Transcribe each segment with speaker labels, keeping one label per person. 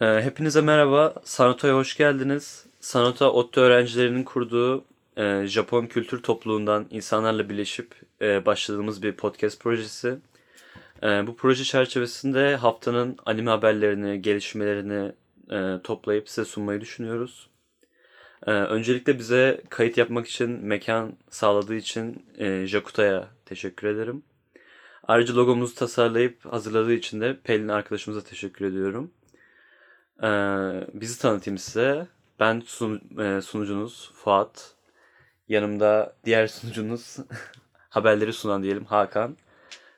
Speaker 1: Ee, Hepinize merhaba. Sanato'ya hoş geldiniz. Sanato, ODTÜ öğrencilerinin kurduğu e, Japon kültür topluluğundan insanlarla birleşip e, başladığımız bir podcast projesi. E, bu proje çerçevesinde haftanın anime haberlerini, gelişmelerini e, toplayıp size sunmayı düşünüyoruz. E, öncelikle bize kayıt yapmak için mekan sağladığı için e, Jakuta'ya teşekkür ederim. Ayrıca logomuzu tasarlayıp hazırladığı için de Pelin arkadaşımıza teşekkür ediyorum. Ee, bizi tanıtayım size. Ben sun- e, sunucunuz Fuat. Yanımda diğer sunucunuz haberleri sunan diyelim Hakan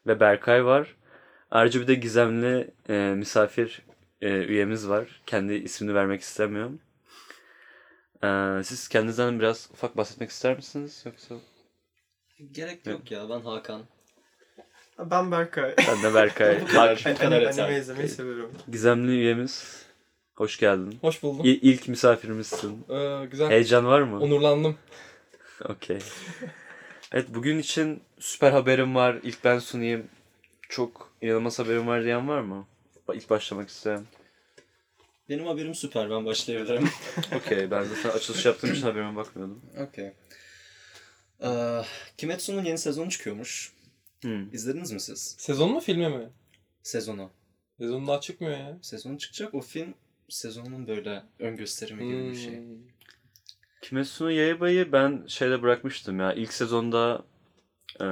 Speaker 1: ve Berkay var. Ayrıca bir de gizemli e, misafir e, üyemiz var. Kendi ismini vermek istemiyorum. Ee, siz kendinizden biraz ufak bahsetmek ister misiniz yoksa?
Speaker 2: Gerek yok ya ben Hakan.
Speaker 3: Ben Berkay.
Speaker 1: Ben de Berkay. Bak,
Speaker 3: Ben
Speaker 2: kadar hani yeter.
Speaker 3: anime izlemeyi seviyorum.
Speaker 1: gizemli üyemiz. Hoş geldin.
Speaker 4: Hoş buldum.
Speaker 1: ilk misafirimizsin.
Speaker 4: Ee, güzel.
Speaker 1: Heyecan var mı?
Speaker 4: Onurlandım.
Speaker 1: Okey. Evet bugün için süper haberim var. İlk ben sunayım. Çok inanılmaz haberim var diyen var mı? Ba- İlk başlamak isteyen.
Speaker 2: Benim haberim süper ben başlayabilirim.
Speaker 1: Okey ben zaten açılış yaptığım için haberime bakmıyordum.
Speaker 2: Okey. Ee, Kimetsu'nun yeni sezonu çıkıyormuş.
Speaker 1: Hmm.
Speaker 2: İzlediniz mi siz?
Speaker 4: Sezon mu filmi mi?
Speaker 2: Sezonu.
Speaker 4: Sezon daha çıkmıyor ya.
Speaker 2: Sezonu çıkacak o film sezonun böyle ön gösterimi gibi bir şey.
Speaker 4: Hmm.
Speaker 1: Kimetsu no Yaiba'yı ben şeyde bırakmıştım ya. İlk sezonda e,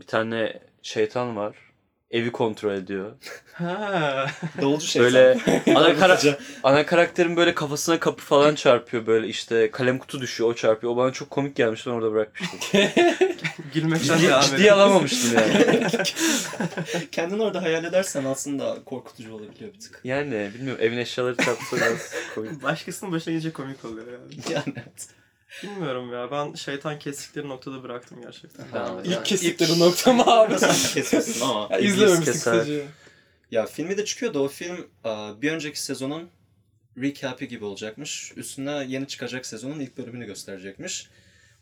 Speaker 1: bir tane şeytan var. Evi kontrol ediyor.
Speaker 4: Ha.
Speaker 2: Davulcu şey
Speaker 1: Böyle ana, kara-
Speaker 2: Davulcu.
Speaker 1: ana karakterin böyle kafasına kapı falan çarpıyor böyle işte kalem kutu düşüyor o çarpıyor. O bana çok komik gelmiş ben orada bırakmıştım.
Speaker 3: Gülmekten
Speaker 1: Ciddi,
Speaker 3: devam
Speaker 1: ciddiye
Speaker 3: edelim.
Speaker 1: alamamıştım yani.
Speaker 2: Kendini orada hayal edersen aslında korkutucu olabiliyor bir tık.
Speaker 1: Yani bilmiyorum evin eşyaları çarpsa biraz komik.
Speaker 3: Başkasının başına gelince komik oluyor yani.
Speaker 2: Yani evet.
Speaker 3: Bilmiyorum ya ben şeytan kestikleri noktada bıraktım gerçekten.
Speaker 2: Ha, yani
Speaker 4: İlk kestikleri nokta mı abi?
Speaker 2: Sen kesmişsin şey ama.
Speaker 4: Ya,
Speaker 1: İblis
Speaker 4: İzlememiştik
Speaker 1: keser.
Speaker 4: kısacı.
Speaker 2: Ya filmi de çıkıyor da o film e, bir önceki sezonun recap'i gibi olacakmış. Üstüne yeni çıkacak sezonun ilk bölümünü gösterecekmiş.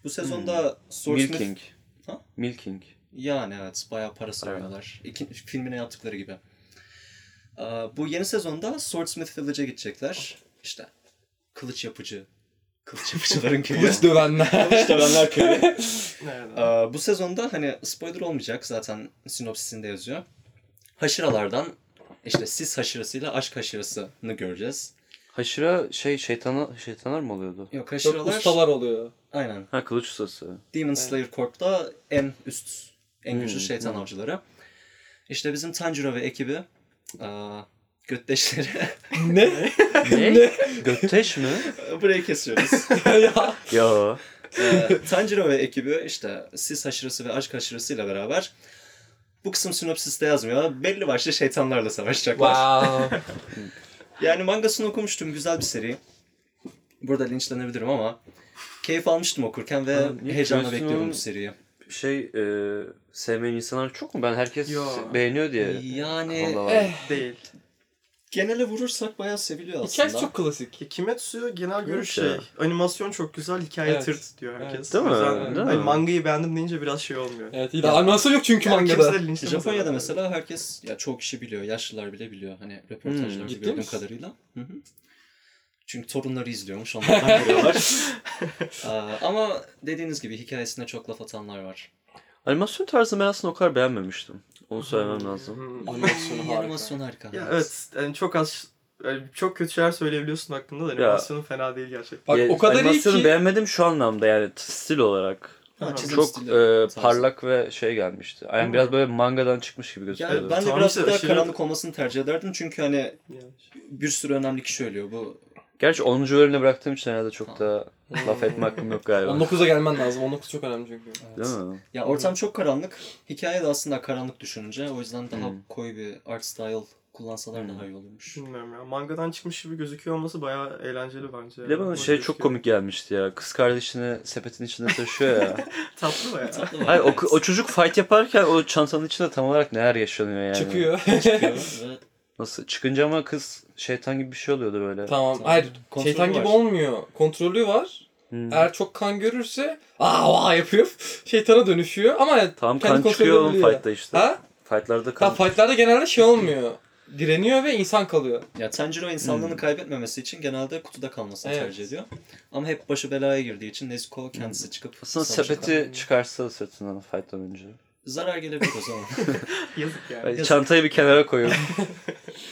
Speaker 2: Bu sezonda Source Smith-
Speaker 1: Milking.
Speaker 2: Ha?
Speaker 1: Milking.
Speaker 2: Yani evet bayağı para sarıyorlar. İki, filmine yaptıkları gibi. E, bu yeni sezonda Swordsmith Village'e gidecekler. İşte kılıç yapıcı. Kılıç yapıcıların köyü.
Speaker 4: Kılıç dövenler.
Speaker 2: Kılıç dövenler köyü.
Speaker 3: Yani.
Speaker 2: Ee, bu sezonda hani spoiler olmayacak zaten sinopsisinde yazıyor. Haşıralardan işte sis haşırasıyla aşk haşırasını göreceğiz.
Speaker 1: Haşira şey şeytana şeytanlar mı oluyordu?
Speaker 2: Yok
Speaker 4: Çok
Speaker 2: haşıralar
Speaker 4: ustalar oluyor.
Speaker 2: aynen
Speaker 1: Ha kılıç ustası.
Speaker 2: Demon Slayer Corp'ta en üst en güçlü
Speaker 1: Hmm,
Speaker 2: şeytan
Speaker 1: hmm.
Speaker 2: avcıları. İşte bizim Tanjiro ve ekibi aa, götteşleri
Speaker 4: ne?
Speaker 1: ne? Götteş mi?
Speaker 2: burayı kesiyoruz.
Speaker 4: ya.
Speaker 1: Yo.
Speaker 2: Ee, Tanjiro ve ekibi işte sis haşırası ve aşk haşırasıyla beraber bu kısım sinopsiste yazmıyor. Belli başlı şeytanlarla savaşacaklar.
Speaker 4: Wow.
Speaker 2: Yani mangasını okumuştum. Güzel bir seri. Burada linçlenebilirim ama keyif almıştım okurken ve
Speaker 1: Ha, niye
Speaker 2: heyecanla
Speaker 1: Kimetsu'nun-
Speaker 2: bekliyorum bu seriyi.
Speaker 1: Şey e, sevmeyen insanlar çok mu? Ben herkes
Speaker 3: Yo.
Speaker 1: beğeniyor diye.
Speaker 2: Yani
Speaker 1: Vallahi.
Speaker 4: eh,
Speaker 3: Değil.
Speaker 2: genele vurursak bayağı seviliyor aslında.
Speaker 4: hikayesi çok klasik.
Speaker 3: Ki Kimetsu genel görüş
Speaker 1: ya.
Speaker 3: şey. Animasyon çok güzel, hikaye
Speaker 4: Evet.
Speaker 3: tırt diyor herkes.
Speaker 4: Evet.
Speaker 1: Değil mi?
Speaker 3: O yüzden
Speaker 4: Değil
Speaker 1: mi?
Speaker 3: hani mangayı beğendim deyince biraz şey olmuyor.
Speaker 4: Evet iyi de animasyon yok çünkü mangada.
Speaker 3: kimse de linçlemez
Speaker 2: Japonya'da
Speaker 3: herhalde.
Speaker 2: mesela herkes ya çok kişi biliyor. Yaşlılar bile biliyor. Hani röportajlarda
Speaker 4: ciddi
Speaker 2: gördüğüm
Speaker 4: misin?
Speaker 2: kadarıyla. Hı hı. Çünkü torunları izliyormuş. Onlardan görüyorlar. Aa, ama dediğiniz gibi hikayesine çok laf atanlar var.
Speaker 1: Animasyon tarzı ben aslında o kadar beğenmemiştim. Onu söylemem lazım.
Speaker 3: Hmm.
Speaker 4: Animasyonu
Speaker 2: İyi,
Speaker 4: harika.
Speaker 2: Animasyon harika.
Speaker 3: Ya evet yani çok az yani çok kötü şeyler söyleyebiliyorsun hakkında da
Speaker 1: Ya.
Speaker 3: animasyonu fena değil gerçekten.
Speaker 4: Bak
Speaker 1: Ya,
Speaker 4: o kadar iyi
Speaker 1: animasyonu
Speaker 4: ki.
Speaker 1: beğenmedim şu anlamda yani t- stil olarak.
Speaker 2: Ha, çizim
Speaker 1: Çok
Speaker 2: stili
Speaker 1: e,
Speaker 2: tarzı.
Speaker 1: parlak ve şey gelmişti. Yani
Speaker 3: Hı.
Speaker 1: biraz böyle mangadan çıkmış gibi
Speaker 2: Yani
Speaker 1: gözüküyordu.
Speaker 2: ben de
Speaker 3: Tanrı
Speaker 2: biraz
Speaker 3: işte
Speaker 2: daha
Speaker 3: aşırı-
Speaker 2: karanlık olmasını tercih ederdim. Çünkü hani
Speaker 3: Yani.
Speaker 2: bir sürü önemli kişi ölüyor. Bu
Speaker 1: Gerçi 10. bölümde bıraktığım için herhalde çok da laf etme hakkım yok galiba.
Speaker 4: 19'a gelmen lazım. 19 çok önemli çünkü.
Speaker 2: Evet.
Speaker 1: Değil mi?
Speaker 2: Ya ortam çok karanlık. Hikaye de aslında karanlık düşününce. O yüzden daha
Speaker 1: Hmm.
Speaker 2: koyu bir art style kullansalar
Speaker 1: Hmm.
Speaker 2: daha iyi olurmuş.
Speaker 3: Bilmiyorum ya. Mangadan çıkmış gibi gözüküyor olması bayağı eğlenceli bence.
Speaker 1: Bir de bana
Speaker 3: Hoş
Speaker 1: şey
Speaker 3: gözüküyor.
Speaker 1: çok komik gelmişti ya. Kız kardeşini sepetin içinde taşıyor ya.
Speaker 3: Tatlı baya.
Speaker 2: Tatlı var.
Speaker 1: Hayır o,
Speaker 2: evet.
Speaker 1: o çocuk fight yaparken o çantanın içinde tam olarak neler yaşanıyor yani.
Speaker 4: Çıkıyor.
Speaker 2: Çıkıyor ve
Speaker 1: Nasıl? Çıkınca ama kız şeytan gibi bir şey oluyordu böyle.
Speaker 4: tamam.
Speaker 2: Tamam.
Speaker 4: Hayır.
Speaker 2: Kontrolü
Speaker 4: şeytan
Speaker 2: var.
Speaker 4: gibi olmuyor. Kontrolü var.
Speaker 1: Hmm.
Speaker 4: Eğer çok kan görürse aa vaa yapıyor. Şeytana dönüşüyor ama
Speaker 1: Tam
Speaker 4: kendi
Speaker 1: kan
Speaker 4: kontrolü Er-
Speaker 1: çıkıyor oğlum
Speaker 4: edebiliyor.
Speaker 1: fight'ta işte.
Speaker 4: Ha?
Speaker 1: Fight'larda
Speaker 4: Ya
Speaker 1: kan.
Speaker 4: fightlarda genelde şey olmuyor. direniyor ve insan kalıyor.
Speaker 2: Ya Tanjiro insanlığını kaybetmemesi için genelde kutuda kalmasını
Speaker 4: Evet.
Speaker 2: tercih ediyor. Ama hep başı belaya girdiği için Nezuko kendisi çıkıp
Speaker 1: Aslında
Speaker 2: savaşa
Speaker 1: sepeti
Speaker 2: kalkıyor.
Speaker 1: çıkarsa sırtından fight'tan önce.
Speaker 2: zarar gelebilir o zaman.
Speaker 3: Yazık yani.
Speaker 1: Ay, Çantayı bir kenara koyuyorum.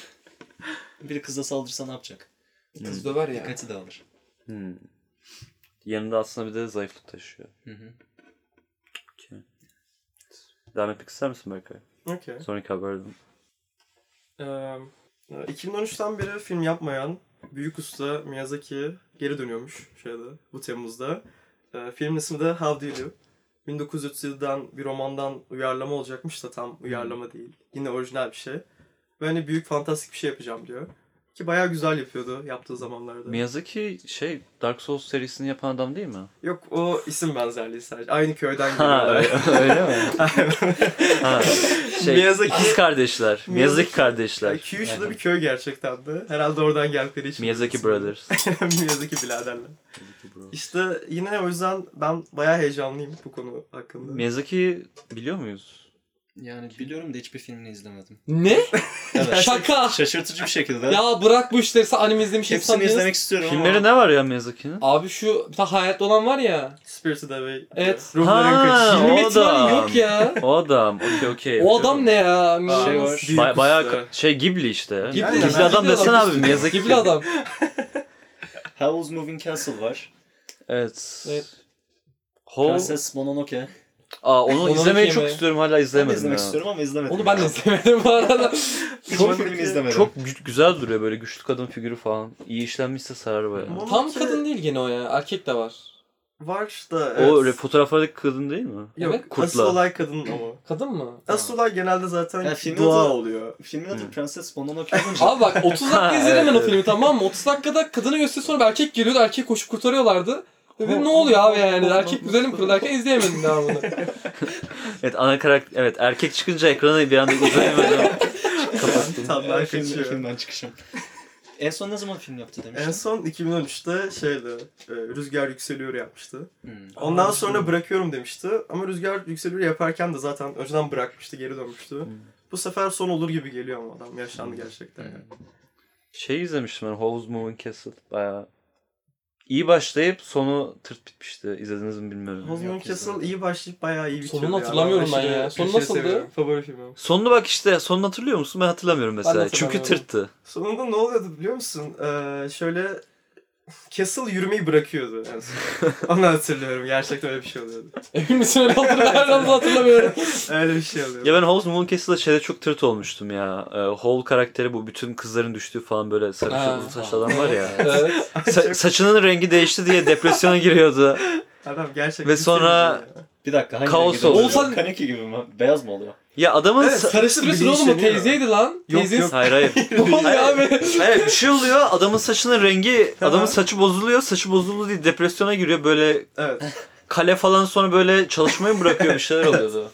Speaker 2: Biri kıza saldırsa ne yapacak?
Speaker 4: Kız döver ya.
Speaker 2: Dikkati dağılır.
Speaker 1: Hmm. Yanında aslında bir de zayıflık taşıyor.
Speaker 2: Hı hı.
Speaker 1: Devam etmek ister misin Berkay?
Speaker 3: Okey.
Speaker 1: Sonraki haberden.
Speaker 3: Ee, 2013'ten beri film yapmayan büyük usta Miyazaki geri dönüyormuş şeyde bu Temmuz'da. Ee, filmin ismi de How Do You Do. 1937'den bir romandan uyarlama olacakmış da tam
Speaker 1: Hmm.
Speaker 3: uyarlama değil. Yine orijinal bir şey. Ve hani büyük fantastik bir şey yapacağım diyor. Ki bayağı güzel yapıyordu yaptığı zamanlarda.
Speaker 1: Miyazaki şey Dark Souls serisini yapan adam değil mi?
Speaker 3: Yok o isim benzerliği sadece. Aynı köyden
Speaker 1: Ha
Speaker 3: geliyorlar.
Speaker 1: öyle, öyle mi? ha. Şey,
Speaker 3: Miyazaki-
Speaker 1: Kız kardeşler. Miyazaki kardeşler.
Speaker 3: Kyushu'da bir köy gerçekten de. Herhalde oradan geldikleri için.
Speaker 1: Miyazaki Brothers.
Speaker 3: Miyazaki biraderler. İşte yine o yüzden ben bayağı heyecanlıyım bu konu hakkında.
Speaker 1: Miyazaki biliyor muyuz?
Speaker 2: Yani biliyorum da hiçbir filmini izlemedim.
Speaker 4: Ne?
Speaker 2: Evet.
Speaker 4: Şaka.
Speaker 2: Şaşırtıcı bir şekilde.
Speaker 4: Ya bırak bu işleri sen anime izlemiş
Speaker 2: Hepsini
Speaker 4: insanıyız.
Speaker 2: izlemek istiyorum
Speaker 1: Filmleri
Speaker 2: ama.
Speaker 1: ne var ya Miyazaki'nin?
Speaker 4: Abi şu bir tane hayatta olan var ya.
Speaker 3: Spirited Away.
Speaker 4: Evet.
Speaker 3: Ruhların
Speaker 1: Ha,
Speaker 3: kaçışı.
Speaker 1: o
Speaker 4: Film ihtimali
Speaker 1: adam.
Speaker 4: yok ya.
Speaker 1: O adam. Okey okey.
Speaker 4: O adam ne ya?
Speaker 2: Şey
Speaker 4: Aa,
Speaker 2: var.
Speaker 1: Ba- bayağı
Speaker 3: Büyük
Speaker 1: ka- şey Ghibli işte.
Speaker 4: Ghibli,
Speaker 1: Ghibli,
Speaker 3: Ghibli
Speaker 1: adam
Speaker 4: adam
Speaker 1: desene abi
Speaker 4: üstüne.
Speaker 1: Miyazaki.
Speaker 4: Gibi adam.
Speaker 2: Howl's Moving Castle var.
Speaker 1: Evet.
Speaker 4: Evet.
Speaker 1: Ho-
Speaker 2: Princess Mononoke.
Speaker 1: Aa, onu
Speaker 4: Mononoke
Speaker 1: izlemeyi çok
Speaker 4: mi?
Speaker 1: istiyorum hala
Speaker 2: Ben de
Speaker 1: izlemedim
Speaker 2: izlemek
Speaker 1: ya.
Speaker 2: istiyorum ama izlemedim.
Speaker 4: Onu ben de izlemedim bu arada.
Speaker 2: Hiçbir filmini izlemedim.
Speaker 1: Çok gü- güzel duruyor böyle güçlü kadın figürü falan. İyi işlenmişse sarar bayağı.
Speaker 3: Mononoke
Speaker 4: Tam kadın değil gene o ya. Erkek de var.
Speaker 3: Var da evet.
Speaker 1: O öyle fotoğraflardaki kadın değil mi?
Speaker 3: Yok,
Speaker 4: Evet.
Speaker 1: Kurtla.
Speaker 3: Asıl olay kadın ama.
Speaker 4: Kadın mı?
Speaker 3: Asıl olay genelde zaten
Speaker 2: Ya filmin
Speaker 3: dua
Speaker 2: adı-
Speaker 3: oluyor.
Speaker 2: Filmin
Speaker 1: Hı.
Speaker 2: adı Princess Mononoke olunca
Speaker 4: Abi bak 30
Speaker 1: Ha,
Speaker 4: dakika izledim ben o
Speaker 1: evet,
Speaker 4: filmi tamam mı? 30 dakikada kadını gösteriyor sonra bir erkek geliyordu. Erkek koşup kurtarıyorlardı. Dedim ne oluyor abi yani? Erkek güzelim kurtardı. Erkek izleyemedim daha bunu.
Speaker 1: Evet ana karakter evet erkek çıkınca ekrana bir anda izleyemedim. Kapattım.
Speaker 3: Tam ben
Speaker 2: ben film,
Speaker 3: kaçıyorum.
Speaker 2: filmden çıkışım. en son ne zaman film yaptı demiştin?
Speaker 3: En son 2013'te şeydi, e, Rüzgar Yükseliyor yapmıştı.
Speaker 2: Hmm.
Speaker 3: Ondan
Speaker 4: Aa,
Speaker 3: sonra bırakıyorum demişti. Ama Rüzgar Yükseliyor yaparken de zaten önceden bırakmıştı, geri dönmüştü. Bu sefer son olur gibi geliyor ama adam yaşandı gerçekten. yani.
Speaker 1: Şey izlemiştim ben Howl's Moving Castle bayağı iyi başlayıp sonu tırt bitmişti. İzlediniz mi bilmiyorum.
Speaker 3: Hozmon
Speaker 2: Yok,
Speaker 3: Castle
Speaker 2: izlemedim.
Speaker 3: iyi başlayıp bayağı iyi bitiyor.
Speaker 4: Sonunu hatırlamıyorum ben ya. Sonu nasıldı?
Speaker 3: Favori filmim.
Speaker 1: Sonunu bak işte sonunu hatırlıyor musun? Ben hatırlamıyorum mesela. Çünkü
Speaker 4: hatırlamıyorum.
Speaker 1: tırttı.
Speaker 3: Sonunda ne oluyordu biliyor musun? Ee, şöyle Castle yürümeyi bırakıyordu en son. Onu hatırlıyorum. Gerçekten öyle bir şey oluyordu.
Speaker 4: Emin misin öyle olduğunu ben de hatırlamıyorum.
Speaker 3: Öyle bir şey oluyordu.
Speaker 1: Ya ben Howl's Moving Castle'da şeyde çok tırt olmuştum ya. Ee, Howl karakteri bu bütün kızların düştüğü falan böyle
Speaker 4: Ha.
Speaker 1: sarı uzun saçlı adam var ya.
Speaker 4: Evet.
Speaker 1: Sa- saçının rengi değişti diye depresyona giriyordu.
Speaker 3: Adam gerçekten...
Speaker 1: Ve sonra-
Speaker 3: bitirdi ya.
Speaker 2: Bir dakika hangi
Speaker 1: Kaos
Speaker 2: rengi de
Speaker 1: oldu.
Speaker 2: oluyor?
Speaker 4: Olsan-
Speaker 2: Kaneki gibi mi? Beyaz mı oluyor?
Speaker 1: Ya adamın...
Speaker 3: Evet,
Speaker 1: sa-
Speaker 4: Karıştırıyorsun
Speaker 1: şey
Speaker 4: oğlum o
Speaker 3: Bilinçleniyor.
Speaker 4: teyzeydi lan.
Speaker 3: Yok,
Speaker 4: Teyzeyi
Speaker 3: yok.
Speaker 1: Hayır hayır.
Speaker 4: Ne oluyor abi?
Speaker 1: Hayır bir şey oluyor adamın saçının rengi
Speaker 3: Tamam.
Speaker 1: adamın saçı bozuluyor saçı bozuldu diye depresyona giriyor böyle
Speaker 3: Evet.
Speaker 1: kale falan sonra böyle çalışmayı mı bırakıyor bir şeyler oluyordu.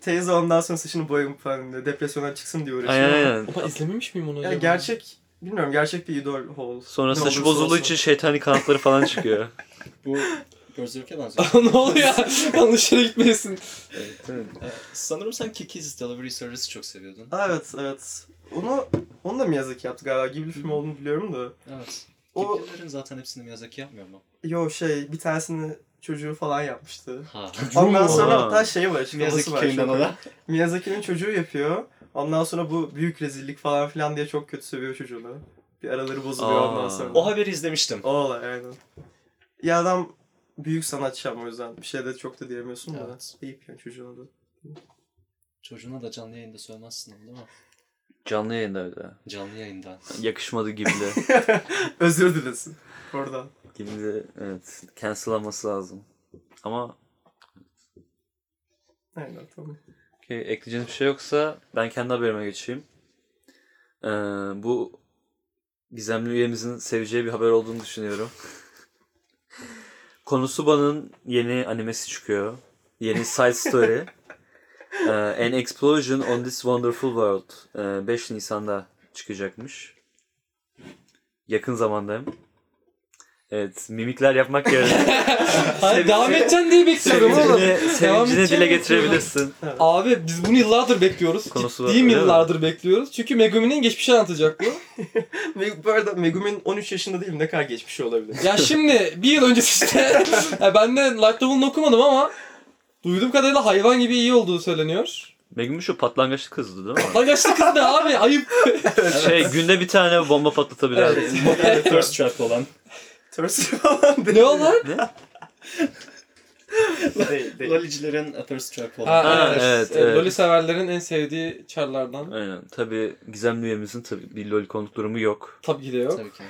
Speaker 3: Teyze ondan sonra saçını boyayıp falan diye depresyona çıksın diye uğraşıyor.
Speaker 1: aynen
Speaker 3: ama-
Speaker 1: aynen.
Speaker 4: Ama izlememiş miyim onu acaba?
Speaker 3: Yani gerçek... Bilmiyorum gerçek bir idol Hall.
Speaker 1: Sonra
Speaker 3: Ne
Speaker 1: saçı
Speaker 3: olursa
Speaker 1: bozulduğu
Speaker 3: olsun.
Speaker 1: için şeytani kanatları falan çıkıyor.
Speaker 2: Bu Berserk'e benziyor.
Speaker 4: ne oluyor? Yanlış yere gitmeyesin.
Speaker 2: Ee, Sanırım sen Kiki's Delivery Service'i çok seviyordun.
Speaker 3: Aa, Evet evet. Onu, onu da Miyazaki yaptı galiba. Gibi bir film olduğunu biliyorum da.
Speaker 2: Evet.
Speaker 3: O-
Speaker 2: Kiki'lerin zaten hepsini Miyazaki yapmıyor mu?
Speaker 3: Yo şey bir tanesini çocuğu falan yapmıştı.
Speaker 2: Ha.
Speaker 3: Ondan sonra
Speaker 1: Aa.
Speaker 3: hatta şey var açıklaması
Speaker 2: Miyazaki
Speaker 3: var.
Speaker 2: köyünden
Speaker 3: şöyle.
Speaker 2: o da.
Speaker 3: Miyazaki'nin çocuğu yapıyor. Ondan sonra bu büyük rezillik falan filan diye çok kötü sövüyor çocuğunu. Bir araları bozuluyor
Speaker 1: Aa.
Speaker 3: ondan sonra.
Speaker 2: O haberi izlemiştim.
Speaker 3: O olay aynen. Ya adam büyük sanatçı ama o yüzden bir şey de çok da diyemiyorsun da.
Speaker 2: Evet.
Speaker 3: Ayıp yani çocuğuna da.
Speaker 2: Çocuğuna da canlı yayında söylemezsin ama değil mi?
Speaker 1: Canlı yayında öyle.
Speaker 2: Canlı yayında.
Speaker 1: Yakışmadı gibi de.
Speaker 3: Özür dilesin. Oradan.
Speaker 1: gibi de evet. Cancel'lanması lazım. Ama
Speaker 3: Aynen tamam.
Speaker 1: okey, ekleyeceğiniz bir şey yoksa ben kendi haberime geçeyim. Ee, bu gizemli üyemizin seveceği bir haber olduğunu düşünüyorum. Konosuba'nın yeni animesi çıkıyor. Yeni side story. Ee, An Explosion on This Wonderful World. Ee, 5 Nisan'da çıkacakmış. Yakın zamanda hem. Evet mimikler yapmak yerine
Speaker 4: Hayır, devam edeceksin diye bekliyorum oğlum.
Speaker 1: sevincini, sevincini
Speaker 4: edeceğim
Speaker 1: dile
Speaker 4: mi?
Speaker 1: getirebilirsin.
Speaker 4: Abi biz bunu yıllardır bekliyoruz.
Speaker 1: Konusu var,
Speaker 4: Ciddiyim
Speaker 1: öyle mi?
Speaker 4: yıllardır bekliyoruz. Çünkü Megumi'nin geçmişini anlatacak bu.
Speaker 3: Meg- bu arada Megumin 13 yaşında değil mi? Ne kadar geçmiş olabilir?
Speaker 4: Ya şimdi bir yıl öncesi işte ya ben de Light Novel'ını okumadım ama duyduğum kadarıyla hayvan gibi iyi olduğu söyleniyor.
Speaker 1: Begüm şu patlangaçlı kızdı değil mi?
Speaker 4: Lan yaşlı kız ne abi ayıp.
Speaker 1: Şey günde bir tane bomba patlatabilir.
Speaker 4: Evet.
Speaker 2: Modern Thirst Trap olan.
Speaker 3: Törsi falan değil.
Speaker 4: ne o lan?
Speaker 3: Değil, değil.
Speaker 2: Lolicilerin A Thirst Trap olan.
Speaker 4: Ha,
Speaker 1: Ha,
Speaker 4: evet.
Speaker 1: evet,
Speaker 4: E,
Speaker 1: evet.
Speaker 4: Loli severlerin en sevdiği çarlardan.
Speaker 1: Aynen. Tabii gizemli üyemizin tabii bir lol konuk durumu yok.
Speaker 4: Tabii ki de yok.
Speaker 2: Tabii ki.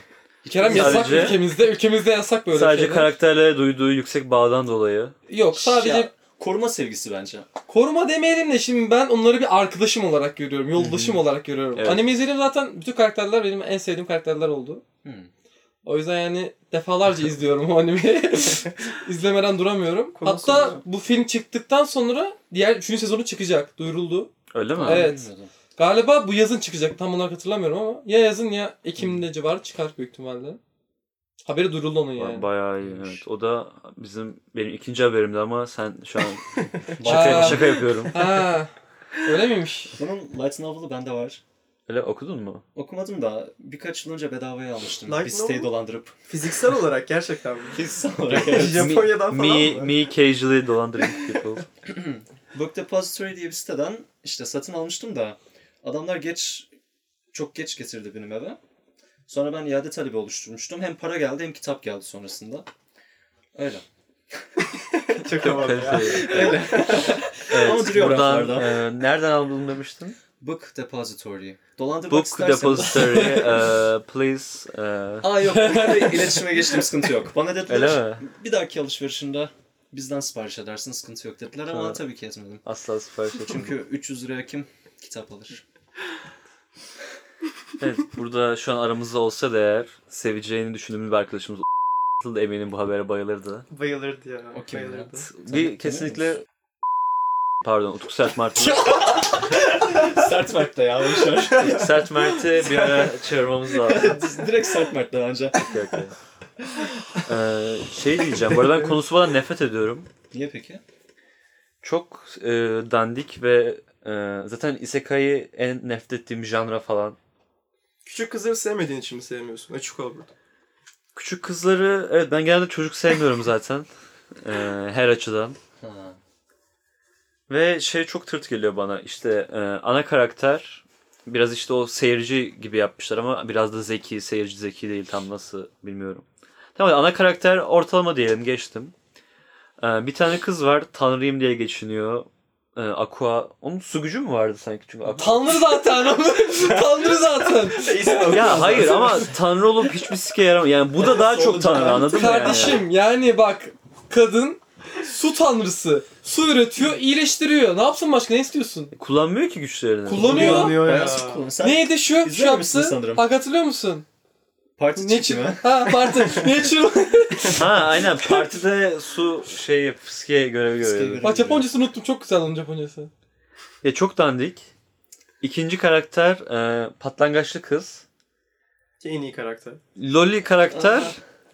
Speaker 4: Kerem yasak
Speaker 1: Sadece-
Speaker 4: ülkemizde. Ülkemizde yasak böyle
Speaker 1: Sadece
Speaker 4: şeyler.
Speaker 1: karakterlere duyduğu yüksek bağdan dolayı.
Speaker 4: Yok sadece
Speaker 2: Ya, koruma sevgisi bence.
Speaker 4: Koruma demeyelim de şimdi ben onları bir arkadaşım olarak görüyorum. Yoldaşım olarak görüyorum.
Speaker 1: Evet.
Speaker 4: Anime izlediğim zaten bütün karakterler benim en sevdiğim karakterler oldu.
Speaker 2: Hmm.
Speaker 4: O yüzden yani defalarca izliyorum o animeyi. İzlemeden duramıyorum.
Speaker 3: Konusu
Speaker 4: Hatta
Speaker 3: güzel.
Speaker 4: bu film çıktıktan sonra diğer 3. sezonu çıkacak. Duyuruldu.
Speaker 1: Öyle mi?
Speaker 4: Evet.
Speaker 2: Bilmiyordum.
Speaker 4: Galiba bu yazın çıkacak. Tam olarak hatırlamıyorum ama ya yazın ya Ekim'de civarı çıkar büyük ihtimalle. Haberi duyuruldu onun
Speaker 1: Ba-
Speaker 4: yani.
Speaker 1: Bayağı iyi.
Speaker 2: İyiymiş.
Speaker 1: Evet. O da bizim benim ikinci haberimdi ama sen şu an şaka,
Speaker 4: Bayağı-
Speaker 1: şaka yapıyorum.
Speaker 4: ha. Öyle miymiş?
Speaker 2: Bunun Light Novel'ı bende var.
Speaker 1: Öyle okudun mu?
Speaker 2: Okumadım da birkaç yıl önce bedavaya almıştım.
Speaker 3: Light
Speaker 2: bir siteyi
Speaker 3: Novel?
Speaker 2: dolandırıp.
Speaker 3: Fiziksel olarak gerçekten.
Speaker 2: Kesin
Speaker 1: Evet.
Speaker 2: olarak evet.
Speaker 3: Japonya'dan falan
Speaker 1: Me,
Speaker 3: mı?
Speaker 1: me casually dolandering people.
Speaker 2: Book Depository diye bir siteden işte satın almıştım da adamlar geç çok geç getirdi benim eve. Sonra ben iade talebi oluşturmuştum. Hem para geldi hem kitap geldi sonrasında. Öyle.
Speaker 3: Çok havalı ya.
Speaker 1: Kaliteli.
Speaker 2: Öyle. Ama
Speaker 1: evet.
Speaker 2: duruyor
Speaker 1: Buradan
Speaker 2: raflarda.
Speaker 1: e, nereden aldın demiştin?
Speaker 2: Book Depository. Dolandırmak
Speaker 1: Book
Speaker 2: isterseniz...
Speaker 1: depository. e, please. e,
Speaker 2: Aa yok. bununla iletişime geçtim sıkıntı yok. Bana dediler
Speaker 1: öyle mi?
Speaker 2: bir dahaki alışverişinde bizden sipariş edersin sıkıntı yok dediler ama
Speaker 1: Tamam.
Speaker 2: tabii ki etmedim.
Speaker 1: Asla sipariş etmedim.
Speaker 2: Çünkü 300 liraya kim kitap alır?
Speaker 1: Evet burada şu an aramızda olsa da eğer seveceğini düşündüğümüz bir arkadaşımız da eminim bu habere bayılırdı.
Speaker 3: Bayılırdı ya.
Speaker 2: O kim ya?
Speaker 3: bayılırdı.
Speaker 1: Bir kesinlikle pardon Utku Sert Mart'ı
Speaker 2: Sert Mert de ya. boş ver.
Speaker 1: Sert Mert'i bir ara çağırmamız lazım.
Speaker 2: Direkt Sert Mert de bence.
Speaker 1: Okey, okey. Ee, şey diyeceğim. Bu arada ben konusu falan nefret ediyorum.
Speaker 2: Niye peki?
Speaker 1: Çok e, dandik ve e, zaten isekai'yi en nefret ettiğim janra falan.
Speaker 3: Küçük kızları sevmediğin için mi sevmiyorsun? Açık ol burada.
Speaker 1: Küçük kızları evet ben genelde çocuk sevmiyorum zaten. Ee, her açıdan.
Speaker 2: Ha.
Speaker 1: Ve şey çok tırt geliyor bana. İşte e, ana karakter biraz işte o seyirci gibi yapmışlar ama biraz da zeki, seyirci zeki değil tam nasıl bilmiyorum. Tamam ana karakter ortalama diyelim geçtim. E, bir tane kız var tanrıyım diye geçiniyor. E, Aqua. Onun su gücü mü vardı sanki? Çünkü Aqua-
Speaker 4: Tanrı zaten onu. Tanrı zaten.
Speaker 1: Ya hayır ama tanrı olup hiçbir sike yaramıyor. Yani bu da daha çok tanrı anladın mı? yani?
Speaker 4: Kardeşim yani bak kadın su tanrısı. Su üretiyor, iyileştiriyor. Ne yapsın başka? Ne istiyorsun?
Speaker 1: Kullanmıyor ki güçlerini.
Speaker 4: Kullanıyor.
Speaker 2: Bayağı sık kullanıyor. Sen
Speaker 4: Neydi şu? Şu
Speaker 2: İzlememişsin
Speaker 4: yaptı.
Speaker 2: sanırım.
Speaker 4: Bak hatırlıyor musun?
Speaker 2: parti
Speaker 4: Ne
Speaker 2: çekimi.
Speaker 4: Ha pardon. ne çırpı?
Speaker 1: Ha aynen partide su şey fiske görevi
Speaker 2: Fiske
Speaker 1: görüyordu.
Speaker 2: görevi.
Speaker 4: Bak Japoncasını unuttum. Çok güzel onun Japoncası.
Speaker 1: Ya çok dandik. İkinci karakter e, patlangaçlı kız.
Speaker 3: En iyi karakter.
Speaker 1: Loli
Speaker 2: Aha.
Speaker 1: karakter.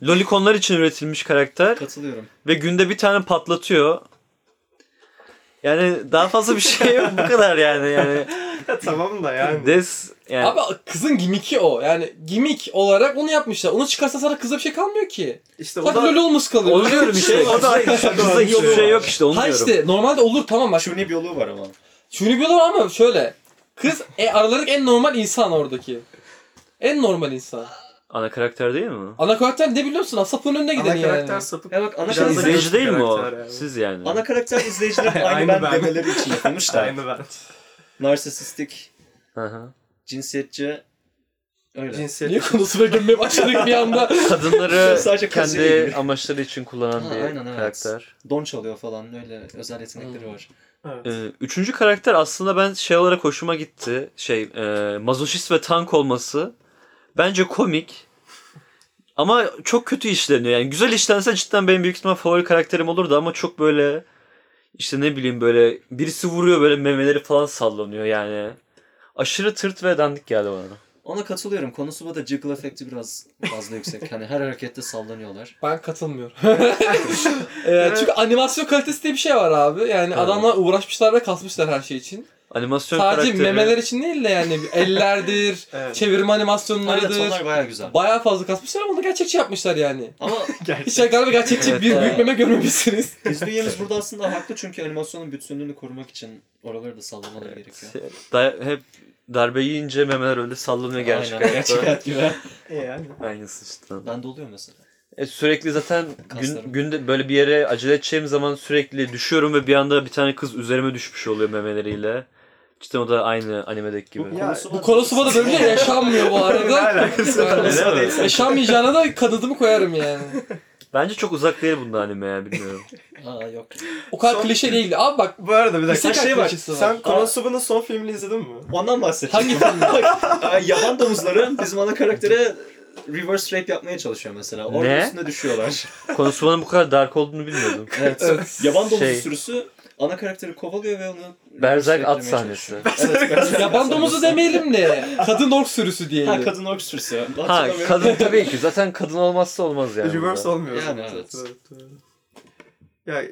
Speaker 1: Lolikonlar için üretilmiş karakter.
Speaker 2: Katılıyorum.
Speaker 1: Ve günde bir tane patlatıyor. Yani daha fazla bir şey yok bu kadar yani. yani
Speaker 3: Ya tamam da yani.
Speaker 1: Des yani
Speaker 4: Abi kızın gimiki o. Yani gimik olarak onu yapmışlar. Onu çıkarsa sana kızda bir şey kalmıyor ki.
Speaker 3: işte o
Speaker 4: Bak
Speaker 3: da
Speaker 4: lol olması kalıyor.
Speaker 1: onu diyorum
Speaker 2: şey
Speaker 1: işte.
Speaker 3: o
Speaker 1: Kızda
Speaker 3: da-
Speaker 1: kızda hiçbir şey yok işte onu
Speaker 4: Ha
Speaker 1: diyorum.
Speaker 4: işte normalde olur tamam bak.
Speaker 2: Şuni bir yolu var ama.
Speaker 4: Şunu biliyorlar ama şöyle. Kız e, aralarındaki en normal insan oradaki. En normal insan.
Speaker 1: Ana karakter değil mi?
Speaker 4: Ana karakter ne biliyorsun? Asapın önüne
Speaker 3: ana
Speaker 4: giden yani.
Speaker 3: karakter sapık.
Speaker 2: Ya bak ana
Speaker 3: Biraz da
Speaker 2: karakter,
Speaker 1: İzleyici değil mi o?
Speaker 3: karakter yani.
Speaker 1: Siz yani.
Speaker 2: ana karakter izleyicilerin aynı,
Speaker 3: Aynı
Speaker 2: ben,
Speaker 3: ben.
Speaker 2: demeleri için yapılmış da.
Speaker 3: Aynı ben.
Speaker 2: Narsisistik,
Speaker 1: Hı hı.
Speaker 2: cinsiyetçi, öyle.
Speaker 4: Niye
Speaker 3: Cinsiyet.
Speaker 4: konusuna girmeye başladık bir anda?
Speaker 1: Kadınları
Speaker 2: Sadece kasaya
Speaker 1: kendi
Speaker 2: giriyor.
Speaker 1: amaçları için kullanan
Speaker 2: Ha,
Speaker 1: bir
Speaker 2: aynen, evet.
Speaker 1: karakter.
Speaker 2: Don çalıyor falan öyle özel yetenekleri var.
Speaker 3: Evet.
Speaker 1: Ee, Üçüncü karakter aslında ben şey olarak hoşuma gitti. Şey e, mazoşist ve tank olması bence komik. Ama çok kötü işleniyor. Yani güzel işlense cidden benim büyük ihtimal favori karakterim olurdu ama çok böyle işte ne bileyim böyle birisi vuruyor böyle memeleri falan sallanıyor yani. Aşırı tırt ve dandik geldi bana.
Speaker 2: Ona katılıyorum. Konusu da jiggle efekti biraz fazla yüksek. Hani her harekette sallanıyorlar.
Speaker 4: Ben katılmıyorum. Ee, çünkü animasyon kalitesi diye bir şey var abi. Yani adamlar uğraşmışlar ve kasmışlar her şey için.
Speaker 1: Animasyon
Speaker 4: Sadece
Speaker 1: karakteri.
Speaker 4: memeler için değil de yani ellerdir,
Speaker 3: Evet.
Speaker 4: çevirme
Speaker 2: Evet
Speaker 4: animasyonlarıdır.
Speaker 2: onlar baya güzel.
Speaker 4: Bayağı fazla kasmışlar ama onu gerçekçi yapmışlar yani.
Speaker 2: Ama
Speaker 3: Gerçi.
Speaker 4: Hiç galiba gerçekçi
Speaker 1: Evet,
Speaker 4: bir
Speaker 2: evet.
Speaker 4: büyük meme görmemişsiniz.
Speaker 2: izleyicimiz burada aslında haklı çünkü animasyonun bütünlüğünü korumak için oraları da sallamaları gerekiyor.
Speaker 1: Şey, day- hep darbe yiyince memeler öyle sallanıyor gerçek
Speaker 2: Aynen,
Speaker 1: hayatta.
Speaker 2: gerçek hayat gibi.
Speaker 3: Yani.
Speaker 1: Aynısı işte.
Speaker 2: Ben de oluyor mesela.
Speaker 1: E, sürekli zaten gün,
Speaker 2: Kaslarım.
Speaker 1: günde böyle bir yere acele edeceğim zaman sürekli düşüyorum ve bir anda bir tane kız üzerime düşmüş oluyor memeleriyle. İşte o da aynı animedeki gibi.
Speaker 3: Ya,
Speaker 4: Bu Konosuba da bölümde yaşanmıyor bu
Speaker 3: Ne
Speaker 4: arada.
Speaker 3: alakası var?
Speaker 4: Yani
Speaker 1: Öyle mi?
Speaker 4: yaşanmayacağına da kanıtımı koyarım yani.
Speaker 1: Bence çok uzak değil bunda anime ya bilmiyorum.
Speaker 2: Aa yok.
Speaker 4: O kadar
Speaker 3: Son-
Speaker 4: klişe değildi. Abi bak
Speaker 3: Bu arada bir dakika.
Speaker 4: İsekai
Speaker 3: Şey bak,
Speaker 4: klişesi var.
Speaker 3: sen Konosuba'nın son filmini izledin mi?
Speaker 2: Ondan bahsedeceğim.
Speaker 4: hangi film?
Speaker 2: Aa, Yaban domuzları bizim ana karaktere reverse rape yapmaya çalışıyor mesela. Orada
Speaker 1: Ne?
Speaker 2: üstüne düşüyorlar.
Speaker 1: Konosubanın bu kadar dark olduğunu bilmiyordum.
Speaker 2: Evet.
Speaker 4: Evet.
Speaker 2: Yaban domuzu
Speaker 1: Şey-
Speaker 2: sürüsü ana karakteri kovalıyor ve onu
Speaker 1: Berzak
Speaker 2: reverse
Speaker 1: at
Speaker 2: rape'lemeye
Speaker 1: sahnesi.
Speaker 2: çalışıyor. Evet, Berzak
Speaker 4: Yaban
Speaker 2: at
Speaker 4: domuzu
Speaker 2: sahnesi.
Speaker 4: demeyelim de kadın ork sürüsü
Speaker 2: Ha
Speaker 4: diyelim.
Speaker 2: kadın ork sürüsü.
Speaker 1: Ha
Speaker 2: Hatırlamıyorum.
Speaker 1: kadın tabii ki. Zaten kadın olmazsa olmaz yani.
Speaker 3: Reverse
Speaker 1: burada.
Speaker 3: olmuyor.
Speaker 2: Yani
Speaker 3: zaten.
Speaker 2: evet.
Speaker 3: evet. Ya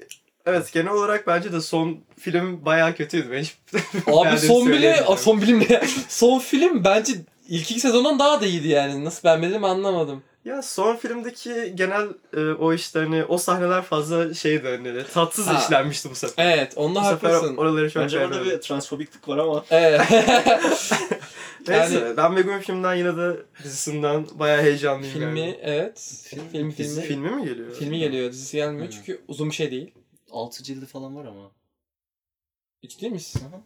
Speaker 3: evet genel olarak bence de son film bayağı kötüydü. Ben hiç
Speaker 4: Abi
Speaker 3: beğendiğimi
Speaker 4: son bile
Speaker 3: söyleyemeyeceğim.
Speaker 4: Aa, son film ne? son film bence ilk iki sezondan daha da iyiydi yani. Nasıl beğenmedim anlamadım.
Speaker 3: Ya son filmdeki genel e, o işte hani o sahneler fazla şeydi hani tatsız
Speaker 4: Ha.
Speaker 3: işlenmişti bu sefer.
Speaker 4: Evet,
Speaker 3: Bu
Speaker 4: onda
Speaker 3: sefer
Speaker 4: haklısın.
Speaker 3: oraları çok
Speaker 2: Bence orada
Speaker 3: beğenemedim.
Speaker 2: bir transfobiklik var ama
Speaker 4: Evet.
Speaker 3: Neyse ben Megumi filmden yine de dizisinden bayağı heyecanlıyım
Speaker 4: filmi
Speaker 3: yani.
Speaker 4: evet.
Speaker 2: Film,
Speaker 4: Filmi
Speaker 3: Dizi-
Speaker 4: filmi.
Speaker 3: Filmi mi geliyor?
Speaker 4: Filmi geliyor, dizisi gelmiyor
Speaker 2: Hı.
Speaker 4: çünkü uzun bir şey değil.
Speaker 2: 6 cildi falan var ama.
Speaker 4: Ciddi misin?
Speaker 2: Aha.